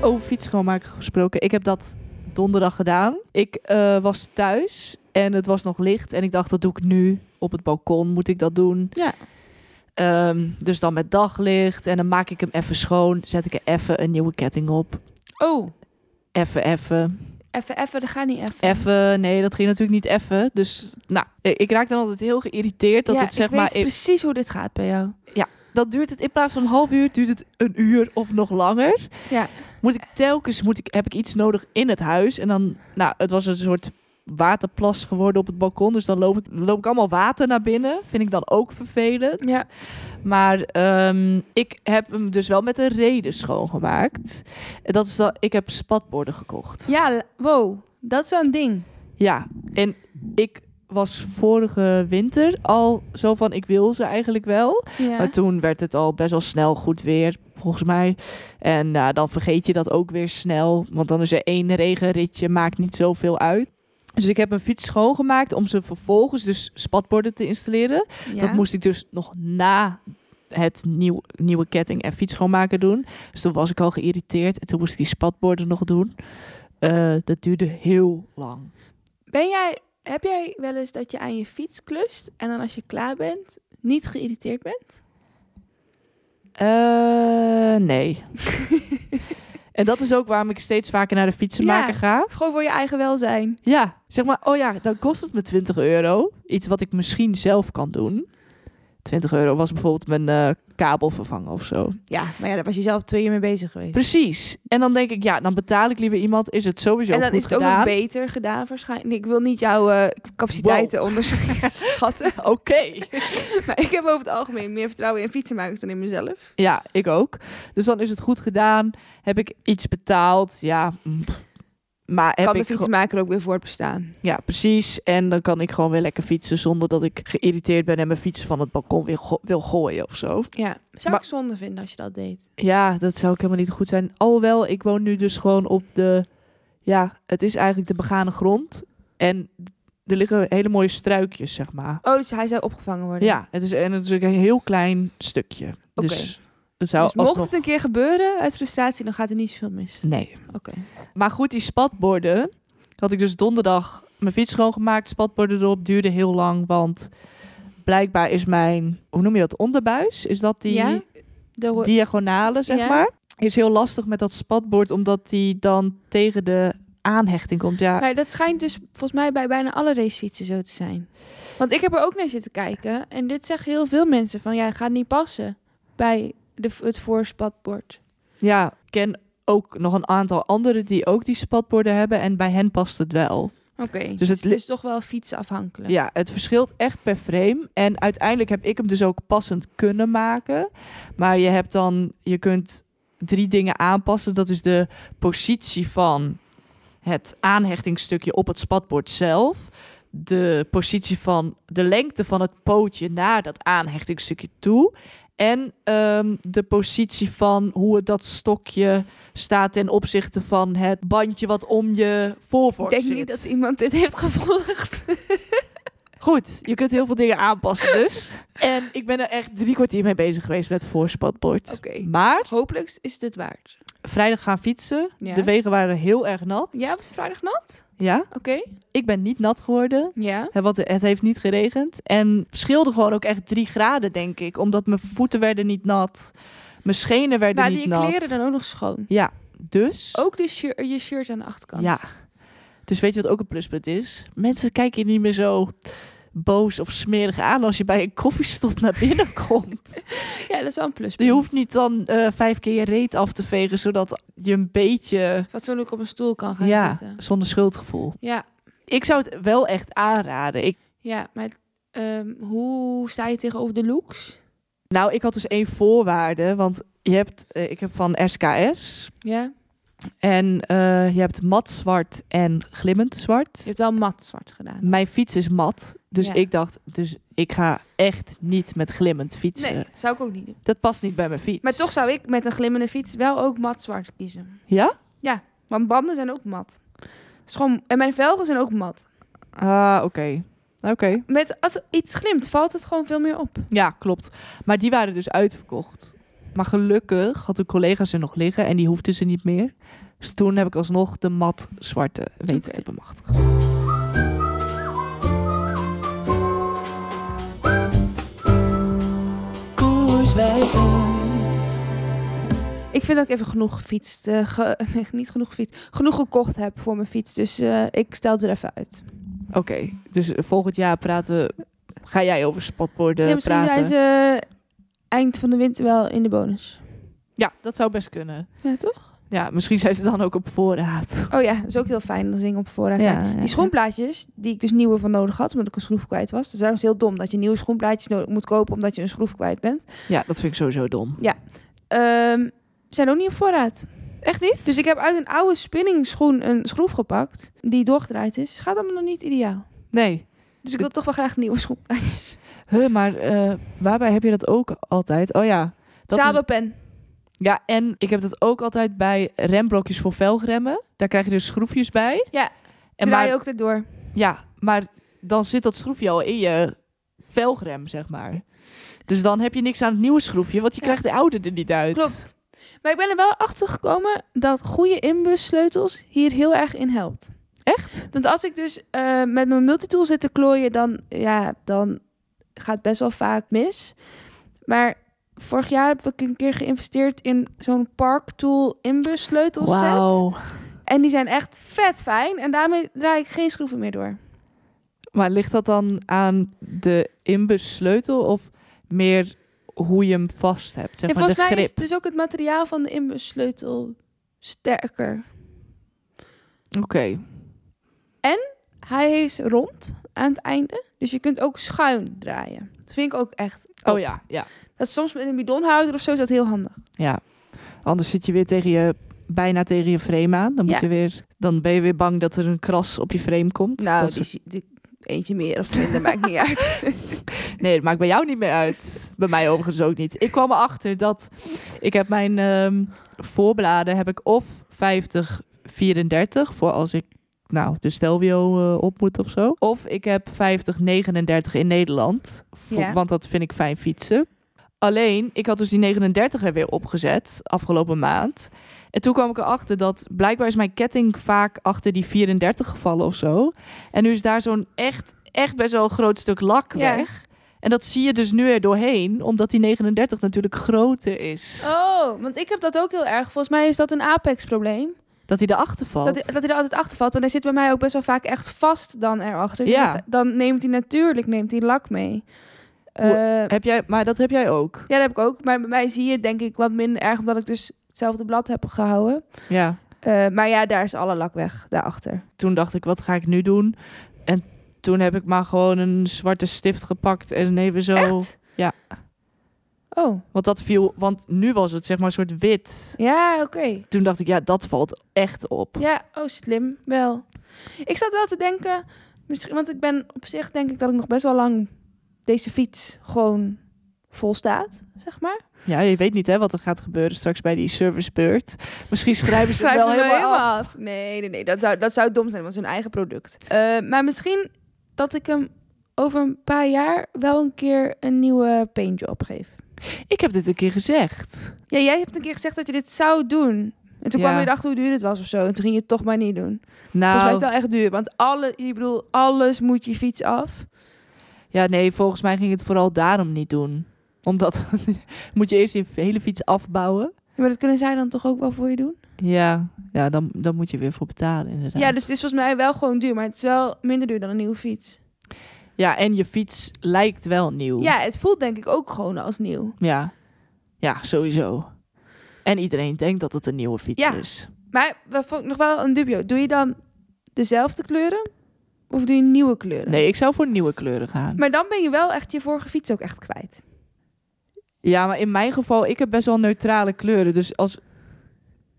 [SPEAKER 2] Over fiets schoonmaken gesproken. Ik heb dat donderdag gedaan. Ik eh, was thuis en het was nog licht. En ik dacht, dat doe ik nu. Op het balkon moet ik dat doen.
[SPEAKER 4] Ja.
[SPEAKER 2] Ehm, dus dan met daglicht. En dan maak ik hem even schoon. Zet ik er even een nieuwe ketting op.
[SPEAKER 4] Oh,
[SPEAKER 2] Even, even.
[SPEAKER 4] even, even, dat gaat niet even.
[SPEAKER 2] Even. Nee, dat ging natuurlijk niet even. Dus nou, ik ik raak dan altijd heel geïrriteerd dat
[SPEAKER 4] Ja,
[SPEAKER 2] het zeg
[SPEAKER 4] ik
[SPEAKER 2] maar...
[SPEAKER 4] weet precies hoe dit gaat bij jou.
[SPEAKER 2] dat duurt het in plaats van een half uur, duurt het een uur of nog langer.
[SPEAKER 4] Ja.
[SPEAKER 2] Moet ik telkens moet ik, heb ik iets nodig in het huis. En dan, nou, het was een soort waterplas geworden op het balkon. Dus dan loop ik, loop ik allemaal water naar binnen. Vind ik dan ook vervelend.
[SPEAKER 4] Ja.
[SPEAKER 2] Maar ehm, ik heb hem dus wel met een reden schoongemaakt. En Dat is dat ik heb spatborden gekocht.
[SPEAKER 4] Ja, la- wow, dat is wel een ding.
[SPEAKER 2] Ja, en ik was vorige winter al zo van ik wil ze eigenlijk wel.
[SPEAKER 4] Ja.
[SPEAKER 2] Maar toen werd het al best wel snel goed weer, volgens mij. En nou, dan vergeet je dat ook weer snel. Want dan is er één regenritje, maakt niet zoveel uit. Dus ik heb mijn fiets schoongemaakt om ze vervolgens dus spatborden te installeren. Dat moest ik dus nog na het nieuw, nieuwe ketting en fiets schoonmaken doen. Dus toen was ik al geïrriteerd. En toen moest ik die spatborden nog doen. Eh, dat duurde heel lang.
[SPEAKER 4] Ben jij, heb jij wel eens dat je aan je fiets klust en dan als je klaar bent, niet geïrriteerd bent?
[SPEAKER 2] Eh, nee. en dat is ook waarom ik steeds vaker naar de fietsenmaker
[SPEAKER 4] Ja.
[SPEAKER 2] ga.
[SPEAKER 4] Of gewoon voor je eigen welzijn?
[SPEAKER 2] Ja, zeg maar, oh ja, dan kost het me 20 euro. Iets wat ik misschien zelf kan doen. 20 euro was bijvoorbeeld mijn eh, kabel vervangen of zo.
[SPEAKER 4] Ja, maar ja, daar was je zelf twee uur mee bezig geweest.
[SPEAKER 2] Precies. En dan denk ik, ja, dan betaal ik liever iemand. Is het sowieso
[SPEAKER 4] En dan
[SPEAKER 2] goed
[SPEAKER 4] is het ook nog
[SPEAKER 2] gedaan?
[SPEAKER 4] beter gedaan waarschijnlijk. Ik wil niet jouw eh, capaciteiten onderschatten.
[SPEAKER 2] Oké.
[SPEAKER 4] Maar ik heb over het algemeen meer vertrouwen in fietsenmakers dan in mezelf.
[SPEAKER 2] Ja, ik ook. Dus dan is het goed gedaan. Heb ik iets betaald? Ja, mm, pff, Maar heb
[SPEAKER 4] kan de
[SPEAKER 2] ik gewoon-
[SPEAKER 4] fietsmaker ook weer voortbestaan.
[SPEAKER 2] Ja, precies. En dan kan ik gewoon weer lekker fietsen zonder dat ik geïrriteerd ben en mijn fiets van het balkon weer go- wil gooien of zo.
[SPEAKER 4] Ja, zou
[SPEAKER 2] Maar-
[SPEAKER 4] ik zonde vinden als je dat deed.
[SPEAKER 2] Ja, dat zou ook helemaal niet goed zijn. Alhoewel, ik woon nu dus gewoon op de... Ja, het is eigenlijk de begane grond. En er liggen hele mooie struikjes, zeg maar.
[SPEAKER 4] Oh, dus hij zou opgevangen worden.
[SPEAKER 2] Ja, het is, en het is ook een heel klein stukje. Dus het zou
[SPEAKER 4] Dus mocht
[SPEAKER 2] alsnog-
[SPEAKER 4] het een keer gebeuren uit frustratie, dan gaat er niet zoveel mis.
[SPEAKER 2] Nee,
[SPEAKER 4] Oké.
[SPEAKER 2] Maar goed, die spatborden had ik dus donderdag mijn fiets schoongemaakt. Spatborden erop duurde heel lang, want blijkbaar is mijn, hoe noem je dat, onderbuis? Is dat die
[SPEAKER 4] Ja, De ho-
[SPEAKER 2] diagonale, zeg
[SPEAKER 4] Ja.
[SPEAKER 2] maar? Is heel lastig met dat spatbord, omdat die dan tegen de aanhechting komt. Ja,
[SPEAKER 4] Maar dat schijnt dus volgens mij bij bijna alle racefietsen zo te zijn. Want ik heb er ook naar zitten kijken. En dit zeggen heel veel mensen van, ja, gaat niet passen bij de, het voorspatbord.
[SPEAKER 2] ja ik ken ook nog een aantal anderen die ook die spatborden hebben en bij hen past het wel.
[SPEAKER 4] Oké,
[SPEAKER 2] Dus
[SPEAKER 4] dus
[SPEAKER 2] het
[SPEAKER 4] het,
[SPEAKER 2] li-
[SPEAKER 4] is toch wel fietsafhankelijk.
[SPEAKER 2] Ja, het verschilt echt per frame. En uiteindelijk heb ik hem dus ook passend kunnen maken. Maar je hebt dan, je kunt drie dingen aanpassen. Dat is de positie van het aanhechtingsstukje op het spatbord zelf. De positie van de lengte van het pootje naar dat aanhechtingsstukje toe. En ehm, de positie van hoe het dat stokje staat ten opzichte van het bandje wat om je
[SPEAKER 4] Ik
[SPEAKER 2] voorvork
[SPEAKER 4] denk
[SPEAKER 2] zit.
[SPEAKER 4] niet dat iemand dit heeft gevolgd.
[SPEAKER 2] Goed, je kunt heel veel dingen aanpassen dus. en ik ben er echt drie kwartier mee bezig geweest met voorspatbord.
[SPEAKER 4] Oké.
[SPEAKER 2] Maar
[SPEAKER 4] Hopelijk is dit waard.
[SPEAKER 2] vrijdag gaan fietsen.
[SPEAKER 4] Ja.
[SPEAKER 2] De wegen waren heel erg nat.
[SPEAKER 4] Ja, was het vrijdag nat?
[SPEAKER 2] Ja.
[SPEAKER 4] Oké.
[SPEAKER 2] Ik ben niet nat geworden.
[SPEAKER 4] Ja.
[SPEAKER 2] hè, Want het heeft niet geregend. En het scheelde gewoon ook echt drie graden, denk ik. Omdat mijn voeten werden niet nat. Mijn schenen werden
[SPEAKER 4] Maar
[SPEAKER 2] niet
[SPEAKER 4] die
[SPEAKER 2] nat.
[SPEAKER 4] kleren dan ook nog schoon.
[SPEAKER 2] Ja, dus...
[SPEAKER 4] Ook de shir- je shirt aan de achterkant.
[SPEAKER 2] Ja. Dus weet je wat ook een pluspunt is? Mensen kijken je niet meer zo boos of smerig aan als je bij een koffiestop naar binnen komt.
[SPEAKER 4] ja, dat is wel een pluspunt.
[SPEAKER 2] Je hoeft niet dan eh, vijf keer je reet af te vegen, zodat je een beetje
[SPEAKER 4] Fatsoenlijk op een stoel kan gaan
[SPEAKER 2] ja,
[SPEAKER 4] zitten.
[SPEAKER 2] zonder schuldgevoel.
[SPEAKER 4] Ja.
[SPEAKER 2] Ik zou het wel echt aanraden. Ik,
[SPEAKER 4] Ja, maar ehm, hoe sta je tegenover de looks?
[SPEAKER 2] nou, ik had dus één voorwaarde, want je hebt, eh, ik heb van SKS
[SPEAKER 4] Ja.
[SPEAKER 2] en eh, je hebt mat zwart en glimmend zwart.
[SPEAKER 4] Je hebt wel mat zwart gedaan.
[SPEAKER 2] Mijn fiets is mat, dus
[SPEAKER 4] Ja.
[SPEAKER 2] ik dacht, dus ik ga echt niet met glimmend fietsen.
[SPEAKER 4] Nee, zou ik ook niet doen.
[SPEAKER 2] Dat past niet bij mijn fiets.
[SPEAKER 4] Maar toch zou ik met een glimmende fiets wel ook mat zwart kiezen.
[SPEAKER 2] Ja?
[SPEAKER 4] Want banden zijn ook mat. Het is gewoon, en mijn velgen zijn ook mat.
[SPEAKER 2] Ah, oké. Oké.
[SPEAKER 4] Met, als er iets glimt, valt het gewoon veel meer op.
[SPEAKER 2] Ja, klopt. Maar die waren dus uitverkocht. Maar gelukkig had de collega ze nog liggen en die hoefde ze niet meer. Dus toen heb ik alsnog de mat zwarte weten
[SPEAKER 4] Oké.
[SPEAKER 2] te bemachtigen.
[SPEAKER 4] Ik vind dat ik even genoeg gefietst, eh, ge- nee, niet genoeg gefietst, genoeg gekocht heb voor mijn fiets. Dus eh, ik stel het er even uit.
[SPEAKER 2] Oké, dus volgend jaar praten we... Ga jij over spatborden
[SPEAKER 4] ja, misschien
[SPEAKER 2] Eh, praten?
[SPEAKER 4] zijn ze eh, eind van de winter wel in de bonus.
[SPEAKER 2] Ja, dat zou best kunnen.
[SPEAKER 4] Ja, toch?
[SPEAKER 2] Ja, misschien zijn ze dan ook op voorraad.
[SPEAKER 4] Oh ja, dat is ook heel fijn dat ze dingen op voorraad zijn.
[SPEAKER 2] ja.
[SPEAKER 4] Die schoenplaatjes, die ik dus nieuwe van nodig had, omdat ik een schroef kwijt was. Dus daarom is het heel dom dat je nieuwe schoenplaatjes nodig moet kopen omdat je een schroef kwijt bent.
[SPEAKER 2] ja, dat vind ik sowieso dom.
[SPEAKER 4] Ehm, zijn ook niet op voorraad.
[SPEAKER 2] Echt niet?
[SPEAKER 4] Dus ik heb uit een oude spinningschoen een schroef gepakt, die doorgedraaid is. Gaat allemaal nog niet ideaal.
[SPEAKER 2] Nee.
[SPEAKER 4] Dus ik wil toch wel graag nieuwe schoenplaatjes.
[SPEAKER 2] Huh, maar eh, waarbij heb je dat ook altijd? Oh ja. Dat is-
[SPEAKER 4] Sabelpen.
[SPEAKER 2] Ja, en ik heb dat ook altijd bij remblokjes voor velgremmen. Daar krijg je dus schroefjes bij.
[SPEAKER 4] Ja,
[SPEAKER 2] en
[SPEAKER 4] Draai
[SPEAKER 2] maar,
[SPEAKER 4] je ook dit door.
[SPEAKER 2] Ja, maar dan zit dat schroefje al in je velgrem, zeg maar. Dus dan heb je niks aan het nieuwe schroefje, want je
[SPEAKER 4] Ja.
[SPEAKER 2] krijgt de oude er niet uit.
[SPEAKER 4] Klopt. Maar ik ben er wel achter gekomen dat goede inbussleutels hier heel erg in helpt.
[SPEAKER 2] Echt?
[SPEAKER 4] Want als ik dus eh, met mijn multitool zit te klooien, dan, ja, dan gaat best wel vaak mis. Maar vorig jaar heb ik een keer geïnvesteerd in zo'n parktool inbussleutelset.
[SPEAKER 2] Wauw.
[SPEAKER 4] En die zijn echt vet fijn. En daarmee draai ik geen schroeven meer door.
[SPEAKER 2] Maar ligt dat dan aan de inbussleutel of meer hoe je hem vast hebt? Zeg
[SPEAKER 4] en
[SPEAKER 2] maar de
[SPEAKER 4] volgens mij
[SPEAKER 2] grip.
[SPEAKER 4] is dus ook het materiaal van de inbussleutel sterker.
[SPEAKER 2] Oké.
[SPEAKER 4] Hij is rond aan het einde. Dus je kunt ook schuin draaien. Dat vind ik ook echt. top.
[SPEAKER 2] Oh ja, ja.
[SPEAKER 4] Dat is soms met een bidonhouder of zo is dat heel handig.
[SPEAKER 2] Ja. Anders zit je weer tegen je, bijna tegen je frame aan. Dan moet
[SPEAKER 4] Ja.
[SPEAKER 2] je weer Dan ben je weer bang dat er een kras op je frame komt.
[SPEAKER 4] Nou,
[SPEAKER 2] Dat
[SPEAKER 4] die,
[SPEAKER 2] soort-
[SPEAKER 4] zie- die- eentje meer of minder maakt niet uit.
[SPEAKER 2] Nee, dat maakt bij jou niet meer uit. Bij mij overigens ook niet. Ik kwam erachter dat ik heb mijn ehm, voorbladen heb ik of 50 34 voor als ik nou de Stelvio eh, op moet of zo. Of ik heb 50 39 in Nederland, vo-
[SPEAKER 4] Ja.
[SPEAKER 2] want dat vind ik fijn fietsen. Alleen, ik had dus die 39 er weer opgezet afgelopen maand. En toen kwam ik erachter dat blijkbaar is mijn ketting vaak achter die 34 gevallen of zo. En nu is daar zo'n echt, echt best wel een groot stuk lak
[SPEAKER 4] Ja.
[SPEAKER 2] weg. En dat zie je dus nu er doorheen, omdat die 39 natuurlijk groter is.
[SPEAKER 4] Oh, want ik heb dat ook heel erg. Volgens mij is dat een Apex-probleem.
[SPEAKER 2] Dat hij erachter valt.
[SPEAKER 4] Dat, hij- dat hij er altijd achter valt. Want hij zit bij mij ook best wel vaak echt vast dan erachter.
[SPEAKER 2] Ja.
[SPEAKER 4] Dan- Dan neemt hij natuurlijk neemt hij lak mee. Eh,
[SPEAKER 2] Heb jij, maar dat heb jij ook.
[SPEAKER 4] ja, dat heb ik ook. Maar bij mij zie je het denk ik wat minder erg, omdat ik dus hetzelfde blad heb gehouden.
[SPEAKER 2] Ja.
[SPEAKER 4] Eh, maar ja, daar is alle lak weg, daarachter.
[SPEAKER 2] Toen dacht ik, wat ga ik nu doen? En toen heb ik maar gewoon een zwarte stift gepakt en even zo.
[SPEAKER 4] Echt?
[SPEAKER 2] ja.
[SPEAKER 4] Oh,
[SPEAKER 2] Want dat viel, want nu was het zeg maar een soort wit.
[SPEAKER 4] ja, oké.
[SPEAKER 2] Toen dacht ik, ja, dat valt echt op.
[SPEAKER 4] Ja, oh slim, wel. Ik zat wel te denken, misschien, want ik ben op zich denk ik dat ik nog best wel lang deze fiets gewoon vol staat, zeg maar.
[SPEAKER 2] Ja, je weet niet hè, wat er gaat gebeuren straks bij die servicebeurt. Misschien schrijven ze het
[SPEAKER 4] Schrijf
[SPEAKER 2] wel
[SPEAKER 4] ze
[SPEAKER 2] helemaal, af.
[SPEAKER 4] af. Nee, nee, nee, dat zou, dat zou dom zijn, want het is hun eigen product. Eh, maar misschien dat ik hem over een paar jaar wel een keer een nieuwe paintjob geef.
[SPEAKER 2] Ik heb dit een keer gezegd.
[SPEAKER 4] Ja, jij hebt een keer gezegd dat je dit zou doen. En toen
[SPEAKER 2] Ja.
[SPEAKER 4] kwam je erachter hoe duur het was of zo. En toen ging je het toch maar niet doen. Volgens mij is
[SPEAKER 2] Nou,
[SPEAKER 4] het wel echt duur. Want alle, ik bedoel, alles moet je fiets af.
[SPEAKER 2] ja, nee, volgens mij ging het vooral daarom niet doen. Omdat moet je eerst je hele fiets afbouwen.
[SPEAKER 4] Ja, Maar dat kunnen zij dan toch ook wel voor je doen?
[SPEAKER 2] Ja, ja dan, dan moet je weer voor betalen
[SPEAKER 4] Ja,
[SPEAKER 2] inderdaad.
[SPEAKER 4] dus het is volgens mij wel gewoon duur. Maar het is wel minder duur dan een nieuwe fiets.
[SPEAKER 2] Ja, en je fiets lijkt wel nieuw.
[SPEAKER 4] Ja, het voelt denk ik ook gewoon als nieuw.
[SPEAKER 2] Ja, ja sowieso. En iedereen denkt dat het een nieuwe fiets
[SPEAKER 4] Ja.
[SPEAKER 2] is.
[SPEAKER 4] Maar wat vond ik nog wel een dubio. Doe je dan dezelfde kleuren? Of doe je nieuwe kleuren?
[SPEAKER 2] Nee, ik zou voor nieuwe kleuren gaan.
[SPEAKER 4] Maar dan ben je wel echt je vorige fiets ook echt kwijt.
[SPEAKER 2] Ja, maar in mijn geval, ik heb best wel neutrale kleuren. Dus als...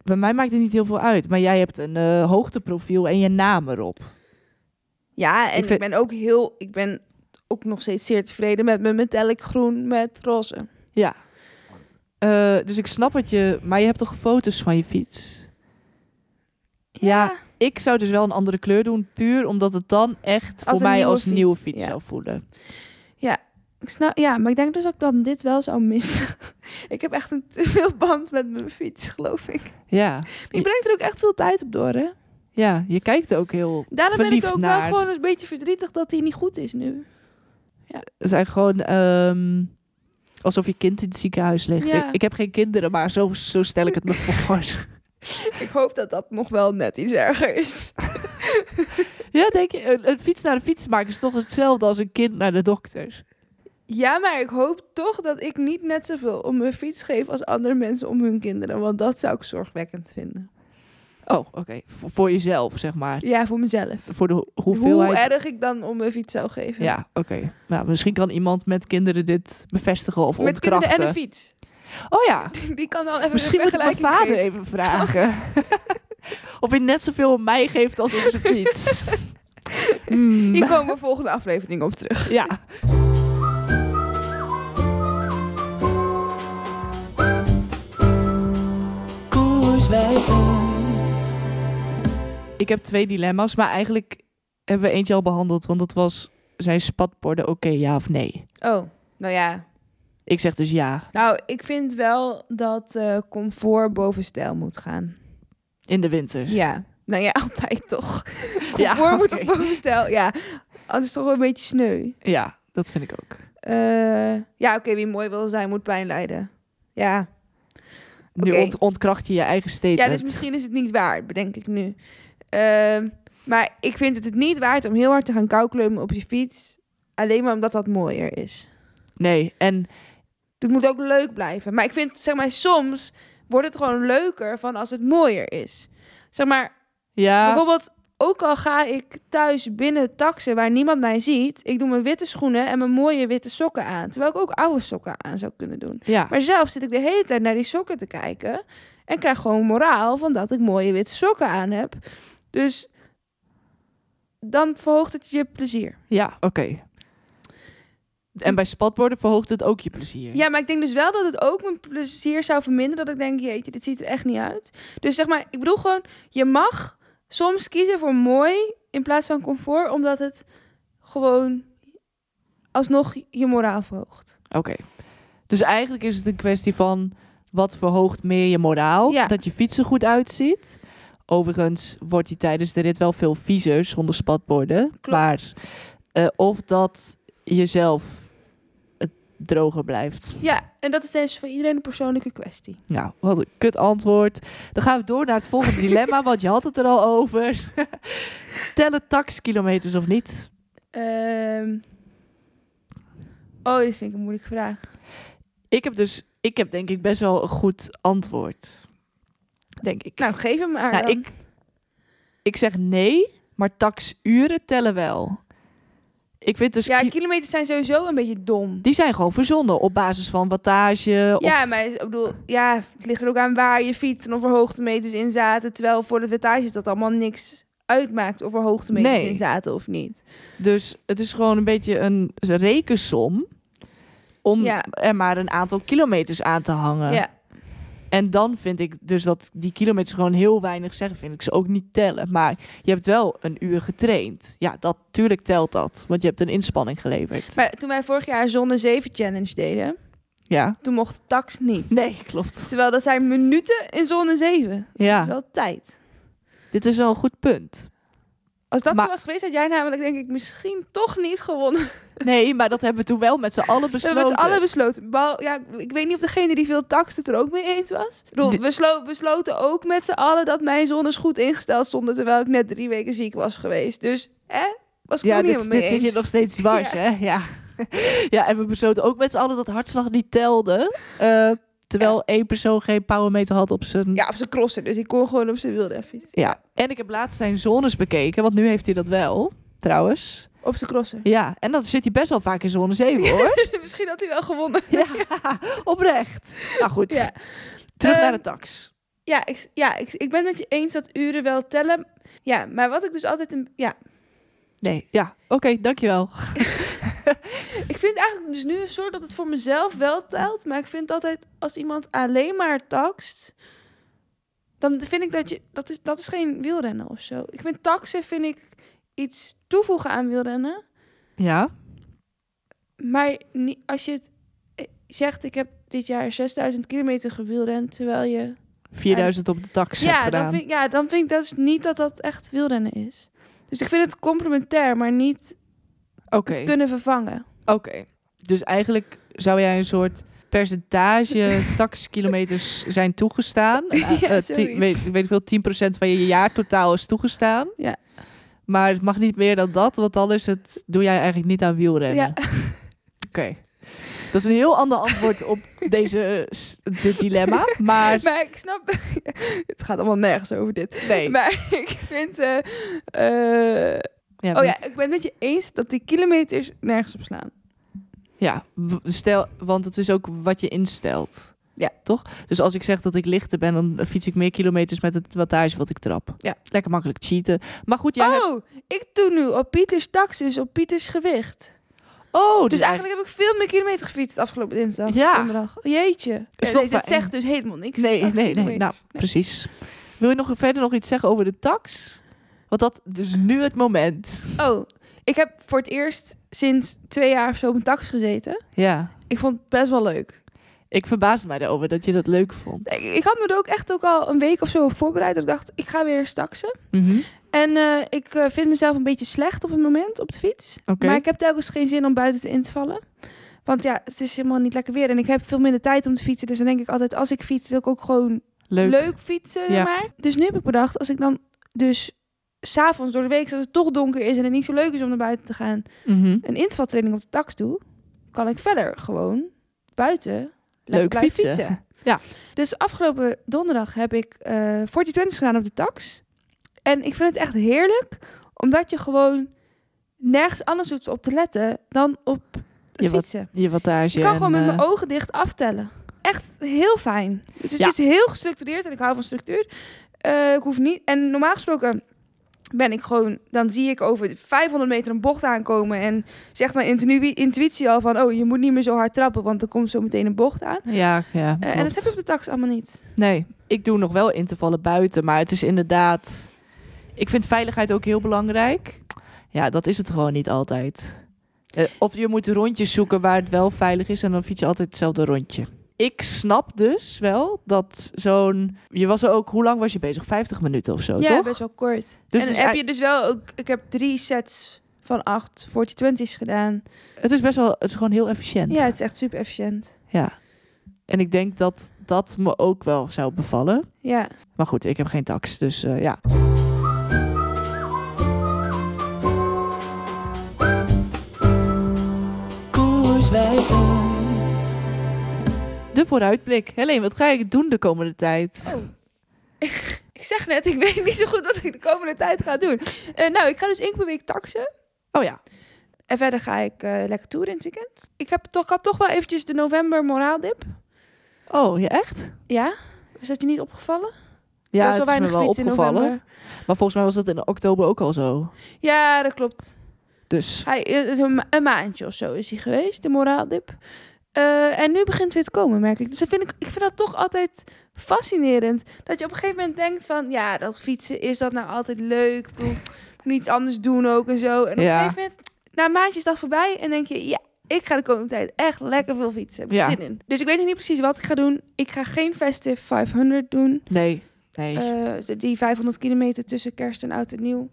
[SPEAKER 2] bij mij maakt het niet heel veel uit. Maar jij hebt een eh, hoogteprofiel en je naam erop.
[SPEAKER 4] Ja, en
[SPEAKER 2] Ik
[SPEAKER 4] ik,
[SPEAKER 2] vind-
[SPEAKER 4] ben ook heel... Ik ben ook nog steeds zeer tevreden met mijn metallic groen met roze.
[SPEAKER 2] Eh, dus ik snap het je, maar je hebt toch foto's van je fiets? Ja. Ik zou dus wel een andere kleur doen, puur omdat het dan echt voor
[SPEAKER 4] een
[SPEAKER 2] mij
[SPEAKER 4] nieuwe
[SPEAKER 2] als
[SPEAKER 4] fiets,
[SPEAKER 2] nieuwe fiets
[SPEAKER 4] ja.
[SPEAKER 2] zou voelen.
[SPEAKER 4] Ik snap, ja, maar ik denk dus ook dat ik dit wel zou missen. ik heb echt een te veel band met mijn fiets, geloof ik.
[SPEAKER 2] Ja,
[SPEAKER 4] Ik breng er ook echt veel tijd op door, hè?
[SPEAKER 2] ja je kijkt er ook heel
[SPEAKER 4] Daarom ben
[SPEAKER 2] verliefd
[SPEAKER 4] ik ook
[SPEAKER 2] naar.
[SPEAKER 4] wel gewoon een beetje verdrietig dat hij niet goed is nu.
[SPEAKER 2] Het zijn gewoon ehm, alsof je kind in het ziekenhuis ligt.
[SPEAKER 4] Ja.
[SPEAKER 2] Ik, ik heb geen kinderen, maar zo, zo stel ik het me voor.
[SPEAKER 4] Ik hoop dat dat nog wel net iets erger is.
[SPEAKER 2] ja, denk je, een, een fiets naar de fietsmaker is toch hetzelfde als een kind naar de dokter.
[SPEAKER 4] Ja, maar ik hoop toch dat ik niet net zoveel om mijn fiets geef als andere mensen om hun kinderen. Want dat zou ik zorgwekkend vinden.
[SPEAKER 2] Oh, oké. Voor, voor jezelf, zeg maar.
[SPEAKER 4] Ja, voor mezelf.
[SPEAKER 2] Voor de ho- hoeveelheid.
[SPEAKER 4] Hoe erg ik dan om mijn fiets zou geven.
[SPEAKER 2] ja, oké. Nou, misschien kan iemand met kinderen dit bevestigen of
[SPEAKER 4] Met
[SPEAKER 2] ontkrachten.
[SPEAKER 4] kinderen en een fiets.
[SPEAKER 2] oh ja,
[SPEAKER 4] Die kan dan even
[SPEAKER 2] misschien
[SPEAKER 4] een
[SPEAKER 2] moet ik mijn
[SPEAKER 4] vergelijking
[SPEAKER 2] vader
[SPEAKER 4] geven.
[SPEAKER 2] even vragen. of hij net zoveel om mij geeft als op zijn fiets. Hmm.
[SPEAKER 4] Hier komen we volgende aflevering op terug.
[SPEAKER 2] Ja. Ik heb twee dilemma's, maar eigenlijk hebben we eentje al behandeld. Want dat was, zijn spatborden oké, ja of nee?
[SPEAKER 4] Oh, nou ja.
[SPEAKER 2] Ik zeg dus ja,
[SPEAKER 4] Nou, ik vind wel dat eh, comfort boven stijl moet gaan.
[SPEAKER 2] in de winter.
[SPEAKER 4] Ja. Nou ja, altijd toch. Comfort
[SPEAKER 2] Ja,
[SPEAKER 4] moet
[SPEAKER 2] oké.
[SPEAKER 4] ook boven stijl. Ja. Anders is het toch wel een beetje sneu.
[SPEAKER 2] Ja, dat vind ik ook.
[SPEAKER 4] Eh, ja, oké, wie mooi wil zijn, moet pijn lijden. Ja.
[SPEAKER 2] Nu
[SPEAKER 4] Oké.
[SPEAKER 2] ont- ontkracht je je eigen statement.
[SPEAKER 4] ja, dus misschien is het niet waard, bedenk ik nu. Ehm, maar ik vind het het niet waard om heel hard te gaan koukleumen op je fiets. Alleen maar omdat dat mooier is.
[SPEAKER 2] Nee, en
[SPEAKER 4] Het moet ook leuk blijven. Maar ik vind, zeg maar, soms wordt het gewoon leuker van als het mooier is. Zeg maar,
[SPEAKER 2] ja,
[SPEAKER 4] Bijvoorbeeld, ook al ga ik thuis binnen taxen waar niemand mij ziet, ik doe mijn witte schoenen en mijn mooie witte sokken aan. Terwijl ik ook oude sokken aan zou kunnen doen.
[SPEAKER 2] ja.
[SPEAKER 4] Maar zelf zit ik de hele tijd naar die sokken te kijken en krijg gewoon moraal van dat ik mooie witte sokken aan heb. Dus dan verhoogt het je plezier.
[SPEAKER 2] Ja, oké. En bij spatborden verhoogt het ook je plezier.
[SPEAKER 4] Ja, maar ik denk dus wel dat het ook mijn plezier zou verminderen. Dat ik denk, jeetje, dit ziet er echt niet uit. Dus zeg maar, ik bedoel gewoon, je mag soms kiezen voor mooi in plaats van comfort, omdat het gewoon alsnog je moraal verhoogt.
[SPEAKER 2] Oké. Dus eigenlijk is het een kwestie van wat verhoogt meer je moraal?
[SPEAKER 4] Ja.
[SPEAKER 2] Dat je fiets er goed uitziet. Overigens wordt die tijdens de rit wel veel viezer zonder spatborden.
[SPEAKER 4] Klopt.
[SPEAKER 2] Maar eh, of dat jezelf het droger blijft.
[SPEAKER 4] Ja, en dat is dus voor iedereen een persoonlijke kwestie.
[SPEAKER 2] Nou, wat een kut antwoord. Dan gaan we door naar het volgende dilemma, want je had het er al over. Tellen taxkilometers of niet?
[SPEAKER 4] Ehm, oh, dit vind ik een moeilijke vraag.
[SPEAKER 2] Ik heb dus, ik heb denk ik best wel een goed antwoord. Denk ik.
[SPEAKER 4] Nou, geef hem maar.
[SPEAKER 2] Nou,
[SPEAKER 4] dan.
[SPEAKER 2] ik, ik zeg nee, maar taxuren tellen wel. Ik vind dus...
[SPEAKER 4] ja,
[SPEAKER 2] ki-
[SPEAKER 4] kilometers zijn sowieso een beetje dom.
[SPEAKER 2] die zijn gewoon verzonnen op basis van wattage. Oh, Of,
[SPEAKER 4] Ja, maar ik bedoel, ja, het ligt er ook aan waar je fiets en of er hoogtemeters in zaten. Terwijl voor de wattages dat allemaal niks uitmaakt of er hoogtemeters
[SPEAKER 2] Nee.
[SPEAKER 4] in zaten of niet.
[SPEAKER 2] Dus het is gewoon een beetje een rekensom om
[SPEAKER 4] Ja.
[SPEAKER 2] er maar een aantal kilometers aan te hangen.
[SPEAKER 4] Ja.
[SPEAKER 2] En dan vind ik dus dat die kilometers gewoon heel weinig zeggen. Vind ik ze ook niet tellen. Maar je hebt wel een uur getraind. Ja, dat tuurlijk telt dat. Want je hebt een inspanning geleverd.
[SPEAKER 4] Maar toen wij vorig jaar Zonne 7 Challenge deden,
[SPEAKER 2] ja.
[SPEAKER 4] toen mocht de tax niet.
[SPEAKER 2] Nee, klopt.
[SPEAKER 4] Terwijl dat zijn minuten in Zonne 7. Dat is
[SPEAKER 2] Ja,
[SPEAKER 4] wel tijd.
[SPEAKER 2] dit is wel een goed punt.
[SPEAKER 4] Als dat
[SPEAKER 2] Maar-
[SPEAKER 4] zo was geweest, had jij namelijk denk ik misschien toch niet gewonnen.
[SPEAKER 2] Nee, maar dat hebben we toen wel met z'n allen
[SPEAKER 4] We
[SPEAKER 2] besloten.
[SPEAKER 4] hebben het alle besloten. Bal- Ja, ik weet niet of degene die veel taxen het er ook mee eens was. Ik bedoel,
[SPEAKER 2] De-
[SPEAKER 4] We slo- besloten ook met z'n allen dat mijn zones goed ingesteld stonden... terwijl ik net drie weken ziek was geweest. Dus, hè? Was ik
[SPEAKER 2] ja,
[SPEAKER 4] ook niet
[SPEAKER 2] dit,
[SPEAKER 4] helemaal mee
[SPEAKER 2] dit
[SPEAKER 4] eens.
[SPEAKER 2] zit je nog steeds dwars, hè? Ja. ja, en we besloten ook met z'n allen dat hartslag niet telde. eh, terwijl één persoon geen powermeter had op zijn...
[SPEAKER 4] Ja, op zijn crosser. Dus ik kon gewoon op zijn wielren fietsen.
[SPEAKER 2] Ja. En ik heb laatst zijn zones bekeken, want nu heeft hij dat wel, trouwens.
[SPEAKER 4] Op zijn crosser.
[SPEAKER 2] Ja, en dan zit hij best wel vaak in zone 7, hoor.
[SPEAKER 4] Misschien had hij wel gewonnen.
[SPEAKER 2] ja, oprecht. Nou goed,
[SPEAKER 4] Ja.
[SPEAKER 2] terug naar
[SPEAKER 4] Ehm,
[SPEAKER 2] de tax.
[SPEAKER 4] Ja, ik, ja ik, ik ben het met je eens dat uren wel tellen. Ja, maar wat ik dus altijd... Een, ja,
[SPEAKER 2] Nee, ja, oké, dankjewel.
[SPEAKER 4] ik vind eigenlijk dus nu een soort dat het voor mezelf wel telt. Maar ik vind altijd, als iemand alleen maar taxt... Dan vind ik dat je... Dat is, dat is geen wielrennen of zo. Ik vind taxen vind ik iets toevoegen aan wielrennen.
[SPEAKER 2] Ja,
[SPEAKER 4] Maar ni- als je het eh, zegt, ik heb dit jaar 6000 kilometer gewielrend, terwijl je
[SPEAKER 2] 4000 op de tax hebt
[SPEAKER 4] Ja, dan
[SPEAKER 2] gedaan.
[SPEAKER 4] vind, ik- ja, dan vind ik dus niet dat dat echt wielrennen is. Dus ik vind het complementair, maar niet
[SPEAKER 2] Oké.
[SPEAKER 4] het kunnen vervangen.
[SPEAKER 2] Oké. Dus eigenlijk zou jij een soort percentage taxkilometers zijn toegestaan. Eh,
[SPEAKER 4] Ja,
[SPEAKER 2] eh,
[SPEAKER 4] zoiets.
[SPEAKER 2] tien- weet, weet ik veel, 10% van je jaartotaal is toegestaan.
[SPEAKER 4] Ja.
[SPEAKER 2] Maar het mag niet meer dan dat, want dan is het, doe jij eigenlijk niet aan wielrennen.
[SPEAKER 4] Ja.
[SPEAKER 2] Oké. Dat is een heel ander antwoord op deze, s- dit dilemma. Maar
[SPEAKER 4] Maar ik snap, het gaat allemaal nergens over dit.
[SPEAKER 2] nee.
[SPEAKER 4] Maar ik vind, eh, eh,
[SPEAKER 2] Ja,
[SPEAKER 4] oh ja, ik ben het met je eens dat die kilometers nergens op slaan.
[SPEAKER 2] Ja, w- stel, want het is ook wat je instelt.
[SPEAKER 4] Ja.
[SPEAKER 2] Toch? Dus als ik zeg dat ik lichter ben, dan fiets ik meer kilometers met het wattage wat ik trap.
[SPEAKER 4] Ja.
[SPEAKER 2] Lekker makkelijk cheaten. Maar goed, jij hebt...
[SPEAKER 4] oh, ik doe nu op Pieters tax, dus op Pieters gewicht.
[SPEAKER 2] Oh, dus,
[SPEAKER 4] Dus eigenlijk heb ik veel meer kilometer gefietst afgelopen dinsdag.
[SPEAKER 2] Ja.
[SPEAKER 4] Donderdag. Jeetje.
[SPEAKER 2] Is
[SPEAKER 4] Eh,
[SPEAKER 2] toch
[SPEAKER 4] nee, dat
[SPEAKER 2] fijn?
[SPEAKER 4] zegt dus helemaal niks.
[SPEAKER 2] Nee,
[SPEAKER 4] Tax
[SPEAKER 2] nee, nee.
[SPEAKER 4] kilometers.
[SPEAKER 2] Nou, precies. Wil je nog verder nog iets zeggen over de tax? Want dat is nu het moment.
[SPEAKER 4] Oh, ik heb voor het eerst sinds twee jaar of zo op een tax gezeten.
[SPEAKER 2] Ja.
[SPEAKER 4] Ik vond het best wel leuk.
[SPEAKER 2] Ik verbaasde mij erover dat je dat leuk vond.
[SPEAKER 4] Ik, ik had me er ook echt ook al een week of zo op voorbereid. Dat ik dacht, ik ga weer eens taxen.
[SPEAKER 2] Mhm.
[SPEAKER 4] En eh, ik eh, vind mezelf een beetje slecht op het moment op de fiets.
[SPEAKER 2] Oké.
[SPEAKER 4] Maar ik heb telkens geen zin om buiten te in te vallen. Want ja, het is helemaal niet lekker weer. En ik heb veel minder tijd om te fietsen. Dus dan denk ik altijd, als ik fiets, wil ik ook gewoon
[SPEAKER 2] Leuk.
[SPEAKER 4] leuk, fietsen.
[SPEAKER 2] Ja.
[SPEAKER 4] zeg Maar. Dus nu heb ik bedacht, als ik dan dus s'avonds door de week, als het toch donker is en het niet zo leuk is om naar buiten te gaan,
[SPEAKER 2] Mhm.
[SPEAKER 4] een intervaltraining op de tax doe, kan ik verder gewoon buiten
[SPEAKER 2] Leuk
[SPEAKER 4] leuk blijven
[SPEAKER 2] fietsen.
[SPEAKER 4] fietsen.
[SPEAKER 2] Ja.
[SPEAKER 4] Dus afgelopen donderdag heb ik eh 4020 gedaan op de tax. En ik vind het echt heerlijk, omdat je gewoon nergens anders hoeft op te letten dan op het
[SPEAKER 2] Je wat-
[SPEAKER 4] fietsen.
[SPEAKER 2] Je wattage
[SPEAKER 4] Je kan
[SPEAKER 2] en,
[SPEAKER 4] gewoon met
[SPEAKER 2] eh,
[SPEAKER 4] mijn ogen dicht aftellen. Echt heel fijn. Het is,
[SPEAKER 2] Ja.
[SPEAKER 4] het is heel gestructureerd en ik hou van structuur. Eh, ik hoef niet. En normaal gesproken ben ik gewoon, dan zie ik over 500 meter een bocht aankomen. En zegt mijn intenu- intuïtie al van, oh, je moet niet meer zo hard trappen, want er komt zo meteen een bocht aan.
[SPEAKER 2] Ja, ja.
[SPEAKER 4] Eh, en dat heb je op de tax allemaal niet.
[SPEAKER 2] Nee, ik doe nog wel intervallen buiten, maar het is inderdaad... Ik vind veiligheid ook heel belangrijk. Ja, dat is het gewoon niet altijd. Eh, Of je moet rondjes zoeken waar het wel veilig is en dan fiets je altijd hetzelfde rondje. Ik snap dus wel dat zo'n... Je was er ook... Hoe lang was je bezig? 50 minuten of zo,
[SPEAKER 4] ja,
[SPEAKER 2] Oh, toch?
[SPEAKER 4] best wel kort.
[SPEAKER 2] Dus
[SPEAKER 4] en
[SPEAKER 2] het, is
[SPEAKER 4] heb
[SPEAKER 2] ei-
[SPEAKER 4] je dus wel ook, ik heb drie sets van acht 40-20's gedaan.
[SPEAKER 2] het is best wel... Het is gewoon heel efficiënt.
[SPEAKER 4] Ja, het is echt super efficiënt.
[SPEAKER 2] ja. En ik denk dat dat me ook wel zou bevallen.
[SPEAKER 4] Ja.
[SPEAKER 2] Maar goed, ik heb geen tax, dus eh, ja. De vooruitblik. Helene, wat ga je doen de komende tijd?
[SPEAKER 4] Ik zeg net, ik weet niet zo goed wat ik de komende tijd ga doen. Eh, nou, ik ga dus één keer per week taxen.
[SPEAKER 2] Oh ja.
[SPEAKER 4] En verder ga ik eh, lekker toeren in het weekend. Ik heb toch, had toch wel eventjes de november moraaldip.
[SPEAKER 2] Oh, ja, echt?
[SPEAKER 4] Ja? Is Dus dat je niet opgevallen?
[SPEAKER 2] Ja,
[SPEAKER 4] Er was
[SPEAKER 2] het is me wel
[SPEAKER 4] gefietst in
[SPEAKER 2] opgevallen.
[SPEAKER 4] november.
[SPEAKER 2] Maar volgens mij was dat in oktober ook al zo.
[SPEAKER 4] Ja, dat klopt.
[SPEAKER 2] Dus,
[SPEAKER 4] Hij, eh, het is een, ma- een maandje of zo is hij geweest, de moraaldip. Eh, en nu begint het weer te komen, merk ik. Dus dat vind ik, ik vind dat toch altijd fascinerend. Dat je op een gegeven moment denkt van... Ja, dat fietsen, is dat nou altijd leuk? Ik bedoel, Moet niets anders doen ook en zo. En op
[SPEAKER 2] Ja.
[SPEAKER 4] een gegeven moment, na een maandje is dat voorbij. En denk je, ja, ik ga de komende tijd echt lekker veel fietsen. Heb ik
[SPEAKER 2] Ja.
[SPEAKER 4] zin in. Dus ik weet nog niet precies wat ik ga doen. Ik ga geen Festive 500 doen.
[SPEAKER 2] nee. Nee.
[SPEAKER 4] Eh, die 500 kilometer tussen kerst en oud en nieuw.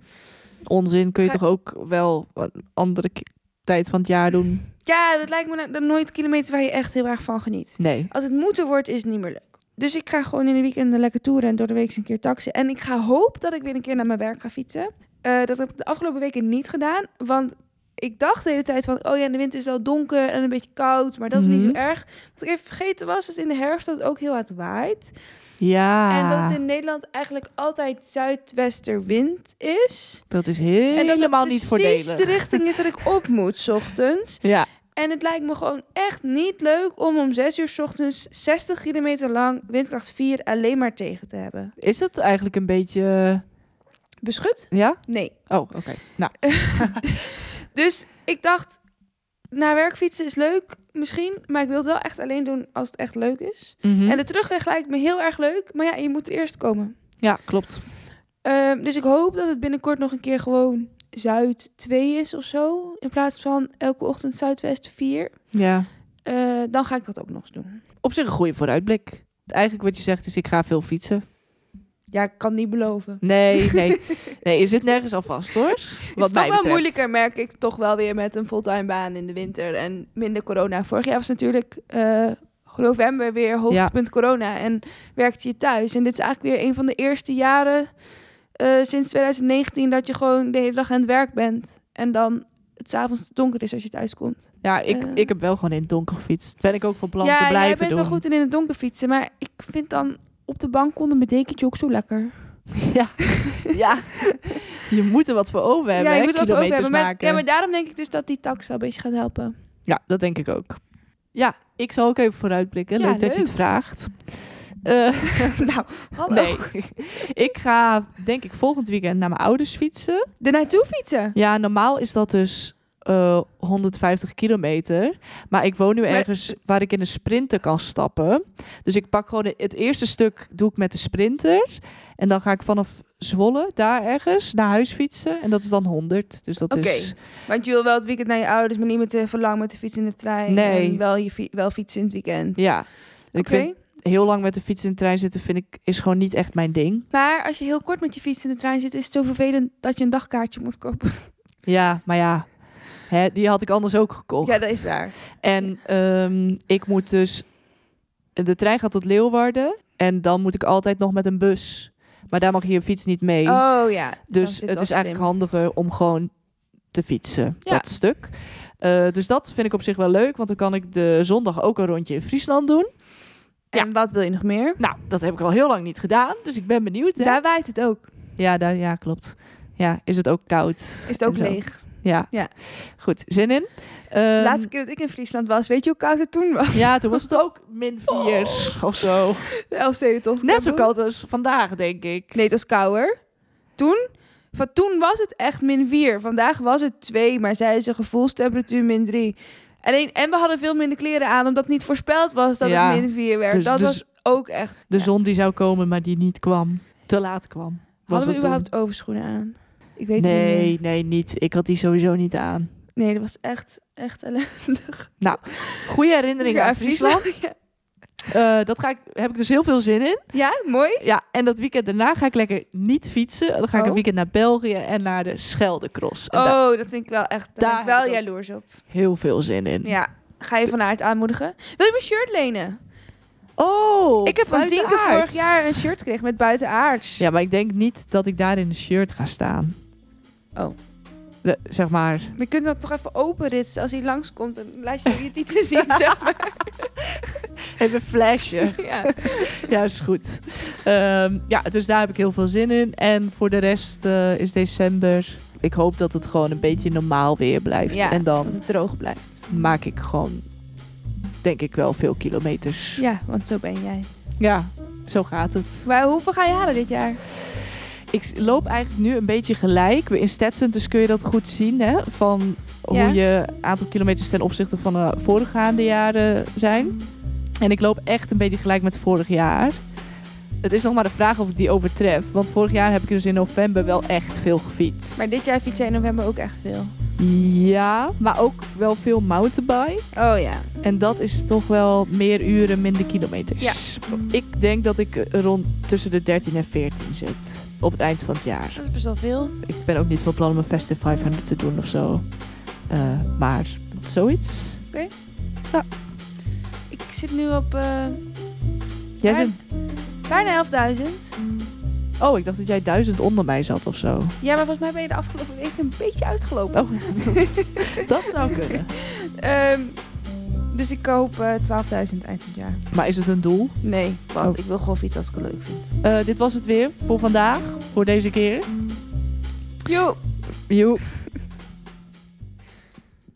[SPEAKER 2] Onzin. Kun je
[SPEAKER 4] ga-
[SPEAKER 2] toch ook wel een andere ki- tijd van het jaar doen?
[SPEAKER 4] Ja, dat lijkt me nou- dan nooit kilometers waar je echt heel erg van geniet.
[SPEAKER 2] Nee.
[SPEAKER 4] Als het moeten wordt, is het niet meer leuk. Dus ik ga gewoon in de weekenden lekker toeren en door de week eens een keer taxen. En ik ga hoop dat ik weer een keer naar mijn werk ga fietsen. Eh, dat heb ik de afgelopen weken niet gedaan. Want ik dacht de hele tijd van, oh ja, in de winter is wel donker en een beetje koud. Maar dat is niet
[SPEAKER 2] Mhm.
[SPEAKER 4] zo erg. Wat ik even vergeten was, is in de herfst dat het ook heel hard waait.
[SPEAKER 2] Ja.
[SPEAKER 4] En dat het in Nederland eigenlijk altijd zuidwesterwind is.
[SPEAKER 2] Dat is
[SPEAKER 4] en dat
[SPEAKER 2] helemaal
[SPEAKER 4] het
[SPEAKER 2] niet
[SPEAKER 4] precies
[SPEAKER 2] voordelig.
[SPEAKER 4] de richting is dat ik op moet, 's ochtends.
[SPEAKER 2] Ja,
[SPEAKER 4] En het lijkt me gewoon echt niet leuk om om 6 uur 's ochtends 60 kilometer lang windkracht 4 alleen maar tegen te hebben.
[SPEAKER 2] is dat eigenlijk een beetje...
[SPEAKER 4] eh, Beschut?
[SPEAKER 2] Ja?
[SPEAKER 4] Nee.
[SPEAKER 2] Oh, oké. Nou,
[SPEAKER 4] Dus ik dacht, naar werk fietsen is leuk misschien, maar ik wil het wel echt alleen doen als het echt leuk is. En
[SPEAKER 2] en
[SPEAKER 4] de terugweg lijkt me heel erg leuk, maar ja, je moet er eerst komen.
[SPEAKER 2] ja, klopt.
[SPEAKER 4] Ehm, dus ik hoop dat het binnenkort nog een keer gewoon Zuid 2 is of zo, in plaats van elke ochtend Zuidwest 4.
[SPEAKER 2] Ja.
[SPEAKER 4] Eh, dan ga ik dat ook nog eens doen.
[SPEAKER 2] Op zich een goede vooruitblik. Eigenlijk wat je zegt is, ik ga veel fietsen.
[SPEAKER 4] Ja, ik kan niet beloven.
[SPEAKER 2] Nee, nee. nee, je zit nergens al vast, hoor. Wat
[SPEAKER 4] het is
[SPEAKER 2] mij
[SPEAKER 4] toch wel
[SPEAKER 2] betreft.
[SPEAKER 4] moeilijker, merk ik toch wel weer met een fulltime baan in de winter en minder corona. Vorig jaar was natuurlijk eh, november weer hoogtepunt corona en werkte je thuis. En dit is eigenlijk weer een van de eerste jaren eh, sinds 2019 dat je gewoon de hele dag aan het werk bent. En dan het 's avonds donker is als je thuis komt.
[SPEAKER 2] Ja, ik,
[SPEAKER 4] Eh.
[SPEAKER 2] ik heb wel gewoon in het donker gefietst. Ben ik ook van plan
[SPEAKER 4] ja,
[SPEAKER 2] te
[SPEAKER 4] jij
[SPEAKER 2] blijven
[SPEAKER 4] bent
[SPEAKER 2] doen.
[SPEAKER 4] wel goed in in het donker fietsen, maar ik vind dan op de bank onder mijn dekentje ook zo lekker.
[SPEAKER 2] Ja. ja. Je moet er wat voor over hebben,
[SPEAKER 4] ja,
[SPEAKER 2] hè,
[SPEAKER 4] je moet wel
[SPEAKER 2] kilometers
[SPEAKER 4] hebben. Maar,
[SPEAKER 2] maken.
[SPEAKER 4] ja, maar daarom denk ik dus dat die tax wel een beetje gaat helpen.
[SPEAKER 2] Ja, dat denk ik ook. Ja, ik zal ook even vooruitblikken.
[SPEAKER 4] Ja,
[SPEAKER 2] leuk, dat je het
[SPEAKER 4] leuk.
[SPEAKER 2] vraagt. Eh,
[SPEAKER 4] nou, hallo.
[SPEAKER 2] nee. Ik ga denk ik volgend weekend naar mijn ouders fietsen.
[SPEAKER 4] Er naartoe fietsen.
[SPEAKER 2] Ja, normaal is dat dus eh, 150 kilometer. Maar ik woon nu ergens waar ik in een sprinter kan stappen. Dus ik pak gewoon het eerste stuk doe ik met de sprinter. En dan ga ik vanaf Zwolle, daar ergens, naar huis fietsen. En dat is dan 100. Dus dat
[SPEAKER 4] Oké.
[SPEAKER 2] is...
[SPEAKER 4] Want je wil wel het weekend naar je ouders, maar niet met de verlang met de fiets in de trein.
[SPEAKER 2] Nee.
[SPEAKER 4] En wel, je fi- wel fietsen in het weekend.
[SPEAKER 2] Ja. Ik
[SPEAKER 4] Oké.
[SPEAKER 2] vind heel lang met de fiets in de trein zitten, vind ik, is gewoon niet echt mijn ding.
[SPEAKER 4] Maar als je heel kort met je fiets in de trein zit, is het zo vervelend dat je een dagkaartje moet kopen.
[SPEAKER 2] Ja, maar ja, hè, die had ik anders ook gekocht.
[SPEAKER 4] Ja, dat is waar.
[SPEAKER 2] En ehm, ik moet dus... De trein gaat tot Leeuwarden en dan moet ik altijd nog met een bus. Maar daar mag je je fiets niet mee.
[SPEAKER 4] Oh ja. dan
[SPEAKER 2] dus
[SPEAKER 4] zit wel
[SPEAKER 2] het is
[SPEAKER 4] slim.
[SPEAKER 2] eigenlijk handiger om gewoon te fietsen,
[SPEAKER 4] Ja.
[SPEAKER 2] dat stuk. Eh, dus dat vind ik op zich wel leuk, want dan kan ik de zondag ook een rondje in Friesland doen.
[SPEAKER 4] En wat wil je nog meer?
[SPEAKER 2] Nou, dat heb ik al heel lang niet gedaan, dus ik ben benieuwd. Hè?
[SPEAKER 4] Daar waait het ook.
[SPEAKER 2] Ja, daar, ja, klopt. Ja, is het ook koud?
[SPEAKER 4] Is het ook
[SPEAKER 2] En zo.
[SPEAKER 4] leeg.
[SPEAKER 2] Ja.
[SPEAKER 4] Ja.
[SPEAKER 2] Goed, zin in? Ehm,
[SPEAKER 4] Laatste keer dat ik in Friesland was, weet je hoe koud het toen was?
[SPEAKER 2] Ja, toen was het ook min 4
[SPEAKER 4] Oh.
[SPEAKER 2] of zo.
[SPEAKER 4] De Elfstedentocht.
[SPEAKER 2] Net zo koud als vandaag, denk ik.
[SPEAKER 4] Nee, het was kouder. Toen Van toen was het echt min 4. Vandaag was het 2, maar zij is een gevoelstemperatuur min 3. Alleen, en we hadden veel minder kleren aan, omdat niet voorspeld was dat
[SPEAKER 2] Ja.
[SPEAKER 4] het min 4 werd.
[SPEAKER 2] Dus-
[SPEAKER 4] dat
[SPEAKER 2] dus-
[SPEAKER 4] was ook echt.
[SPEAKER 2] De
[SPEAKER 4] Ja.
[SPEAKER 2] zon die zou komen, maar die niet kwam. Te laat kwam. Was
[SPEAKER 4] Hadden we
[SPEAKER 2] het
[SPEAKER 4] überhaupt overschoenen aan? Ik
[SPEAKER 2] toen.
[SPEAKER 4] weet het niet.
[SPEAKER 2] Nee,
[SPEAKER 4] meer.
[SPEAKER 2] nee, niet. Ik had die sowieso niet aan.
[SPEAKER 4] Nee, dat was echt, echt ellendig.
[SPEAKER 2] Goede herinnering
[SPEAKER 4] Ja,
[SPEAKER 2] aan Friesland. Eh, dat ga ik, heb ik dus heel veel zin in.
[SPEAKER 4] Ja, mooi.
[SPEAKER 2] Ja, en dat weekend daarna ga ik lekker niet fietsen. Dan ga ik
[SPEAKER 4] Oh.
[SPEAKER 2] een weekend naar België en naar de Scheldecross. En daar
[SPEAKER 4] Oh, dat vind ik wel echt. Daar,
[SPEAKER 2] Daar
[SPEAKER 4] ben ik
[SPEAKER 2] heb
[SPEAKER 4] wel
[SPEAKER 2] ik ook-
[SPEAKER 4] jaloers op.
[SPEAKER 2] heel veel zin in.
[SPEAKER 4] Ja. Ga je van aard aanmoedigen? Wil je mijn shirt lenen?
[SPEAKER 2] Oh,
[SPEAKER 4] ik heb van Tinker
[SPEAKER 2] buitenaards.
[SPEAKER 4] vorig jaar een shirt gekregen met buitenaards.
[SPEAKER 2] Ja, maar ik denk niet dat ik daar in een shirt ga staan.
[SPEAKER 4] Oh.
[SPEAKER 2] De- zeg maar.
[SPEAKER 4] Maar je kunt dat toch even openritsen als hij langskomt en laat je je tieten zien, zeg maar.
[SPEAKER 2] Even een flesje.
[SPEAKER 4] Ja.
[SPEAKER 2] ja, is goed. Ehm, ja, dus daar heb ik heel veel zin in. En voor de rest eh, is december. Ik hoop dat het gewoon een beetje normaal weer blijft.
[SPEAKER 4] Ja.
[SPEAKER 2] En
[SPEAKER 4] Dat
[SPEAKER 2] dan
[SPEAKER 4] het droog blijft.
[SPEAKER 2] maak ik gewoon, denk ik wel, veel kilometers.
[SPEAKER 4] Ja, want zo ben jij.
[SPEAKER 2] Ja, zo gaat het.
[SPEAKER 4] Maar hoeveel ga je halen dit jaar?
[SPEAKER 2] Ik s- loop eigenlijk nu een beetje gelijk. We- In Stetson dus kun je dat goed zien. Hè? Van
[SPEAKER 4] Ja.
[SPEAKER 2] hoe je aantal kilometers ten opzichte van de voorgaande jaren zijn. En ik loop echt een beetje gelijk met vorig jaar. Het is nog maar de vraag of ik die overtref. Want vorig jaar heb ik dus in november wel echt veel gefietst.
[SPEAKER 4] Maar dit jaar fiets jij in november ook echt veel.
[SPEAKER 2] Ja, maar ook wel veel mountainbike.
[SPEAKER 4] Oh ja.
[SPEAKER 2] En dat is toch wel meer uren, minder kilometers.
[SPEAKER 4] Ja.
[SPEAKER 2] Ik denk dat ik eh, rond tussen de 13 en 14 zit. Op het eind van het jaar.
[SPEAKER 4] Dat is best wel veel.
[SPEAKER 2] Ik ben ook niet van plan om een Festive 500 te doen of zo. Eh, maar zoiets.
[SPEAKER 4] Ik zit nu op eh,
[SPEAKER 2] Jij
[SPEAKER 4] Maar-
[SPEAKER 2] zit-
[SPEAKER 4] bijna 11.000.
[SPEAKER 2] Oh, ik dacht dat jij duizend onder mij zat of zo.
[SPEAKER 4] Ja, maar volgens mij ben je de afgelopen week een beetje uitgelopen.
[SPEAKER 2] Oh, dat, dat zou kunnen.
[SPEAKER 4] Ehm, dus ik koop eh 12.000 eind het jaar.
[SPEAKER 2] Maar is het een doel?
[SPEAKER 4] Nee, want
[SPEAKER 2] Oh.
[SPEAKER 4] ik wil gewoon fietsen als ik het leuk vind.
[SPEAKER 2] Eh, dit was het weer voor vandaag. Voor deze keer.
[SPEAKER 4] Joep!
[SPEAKER 2] Joep.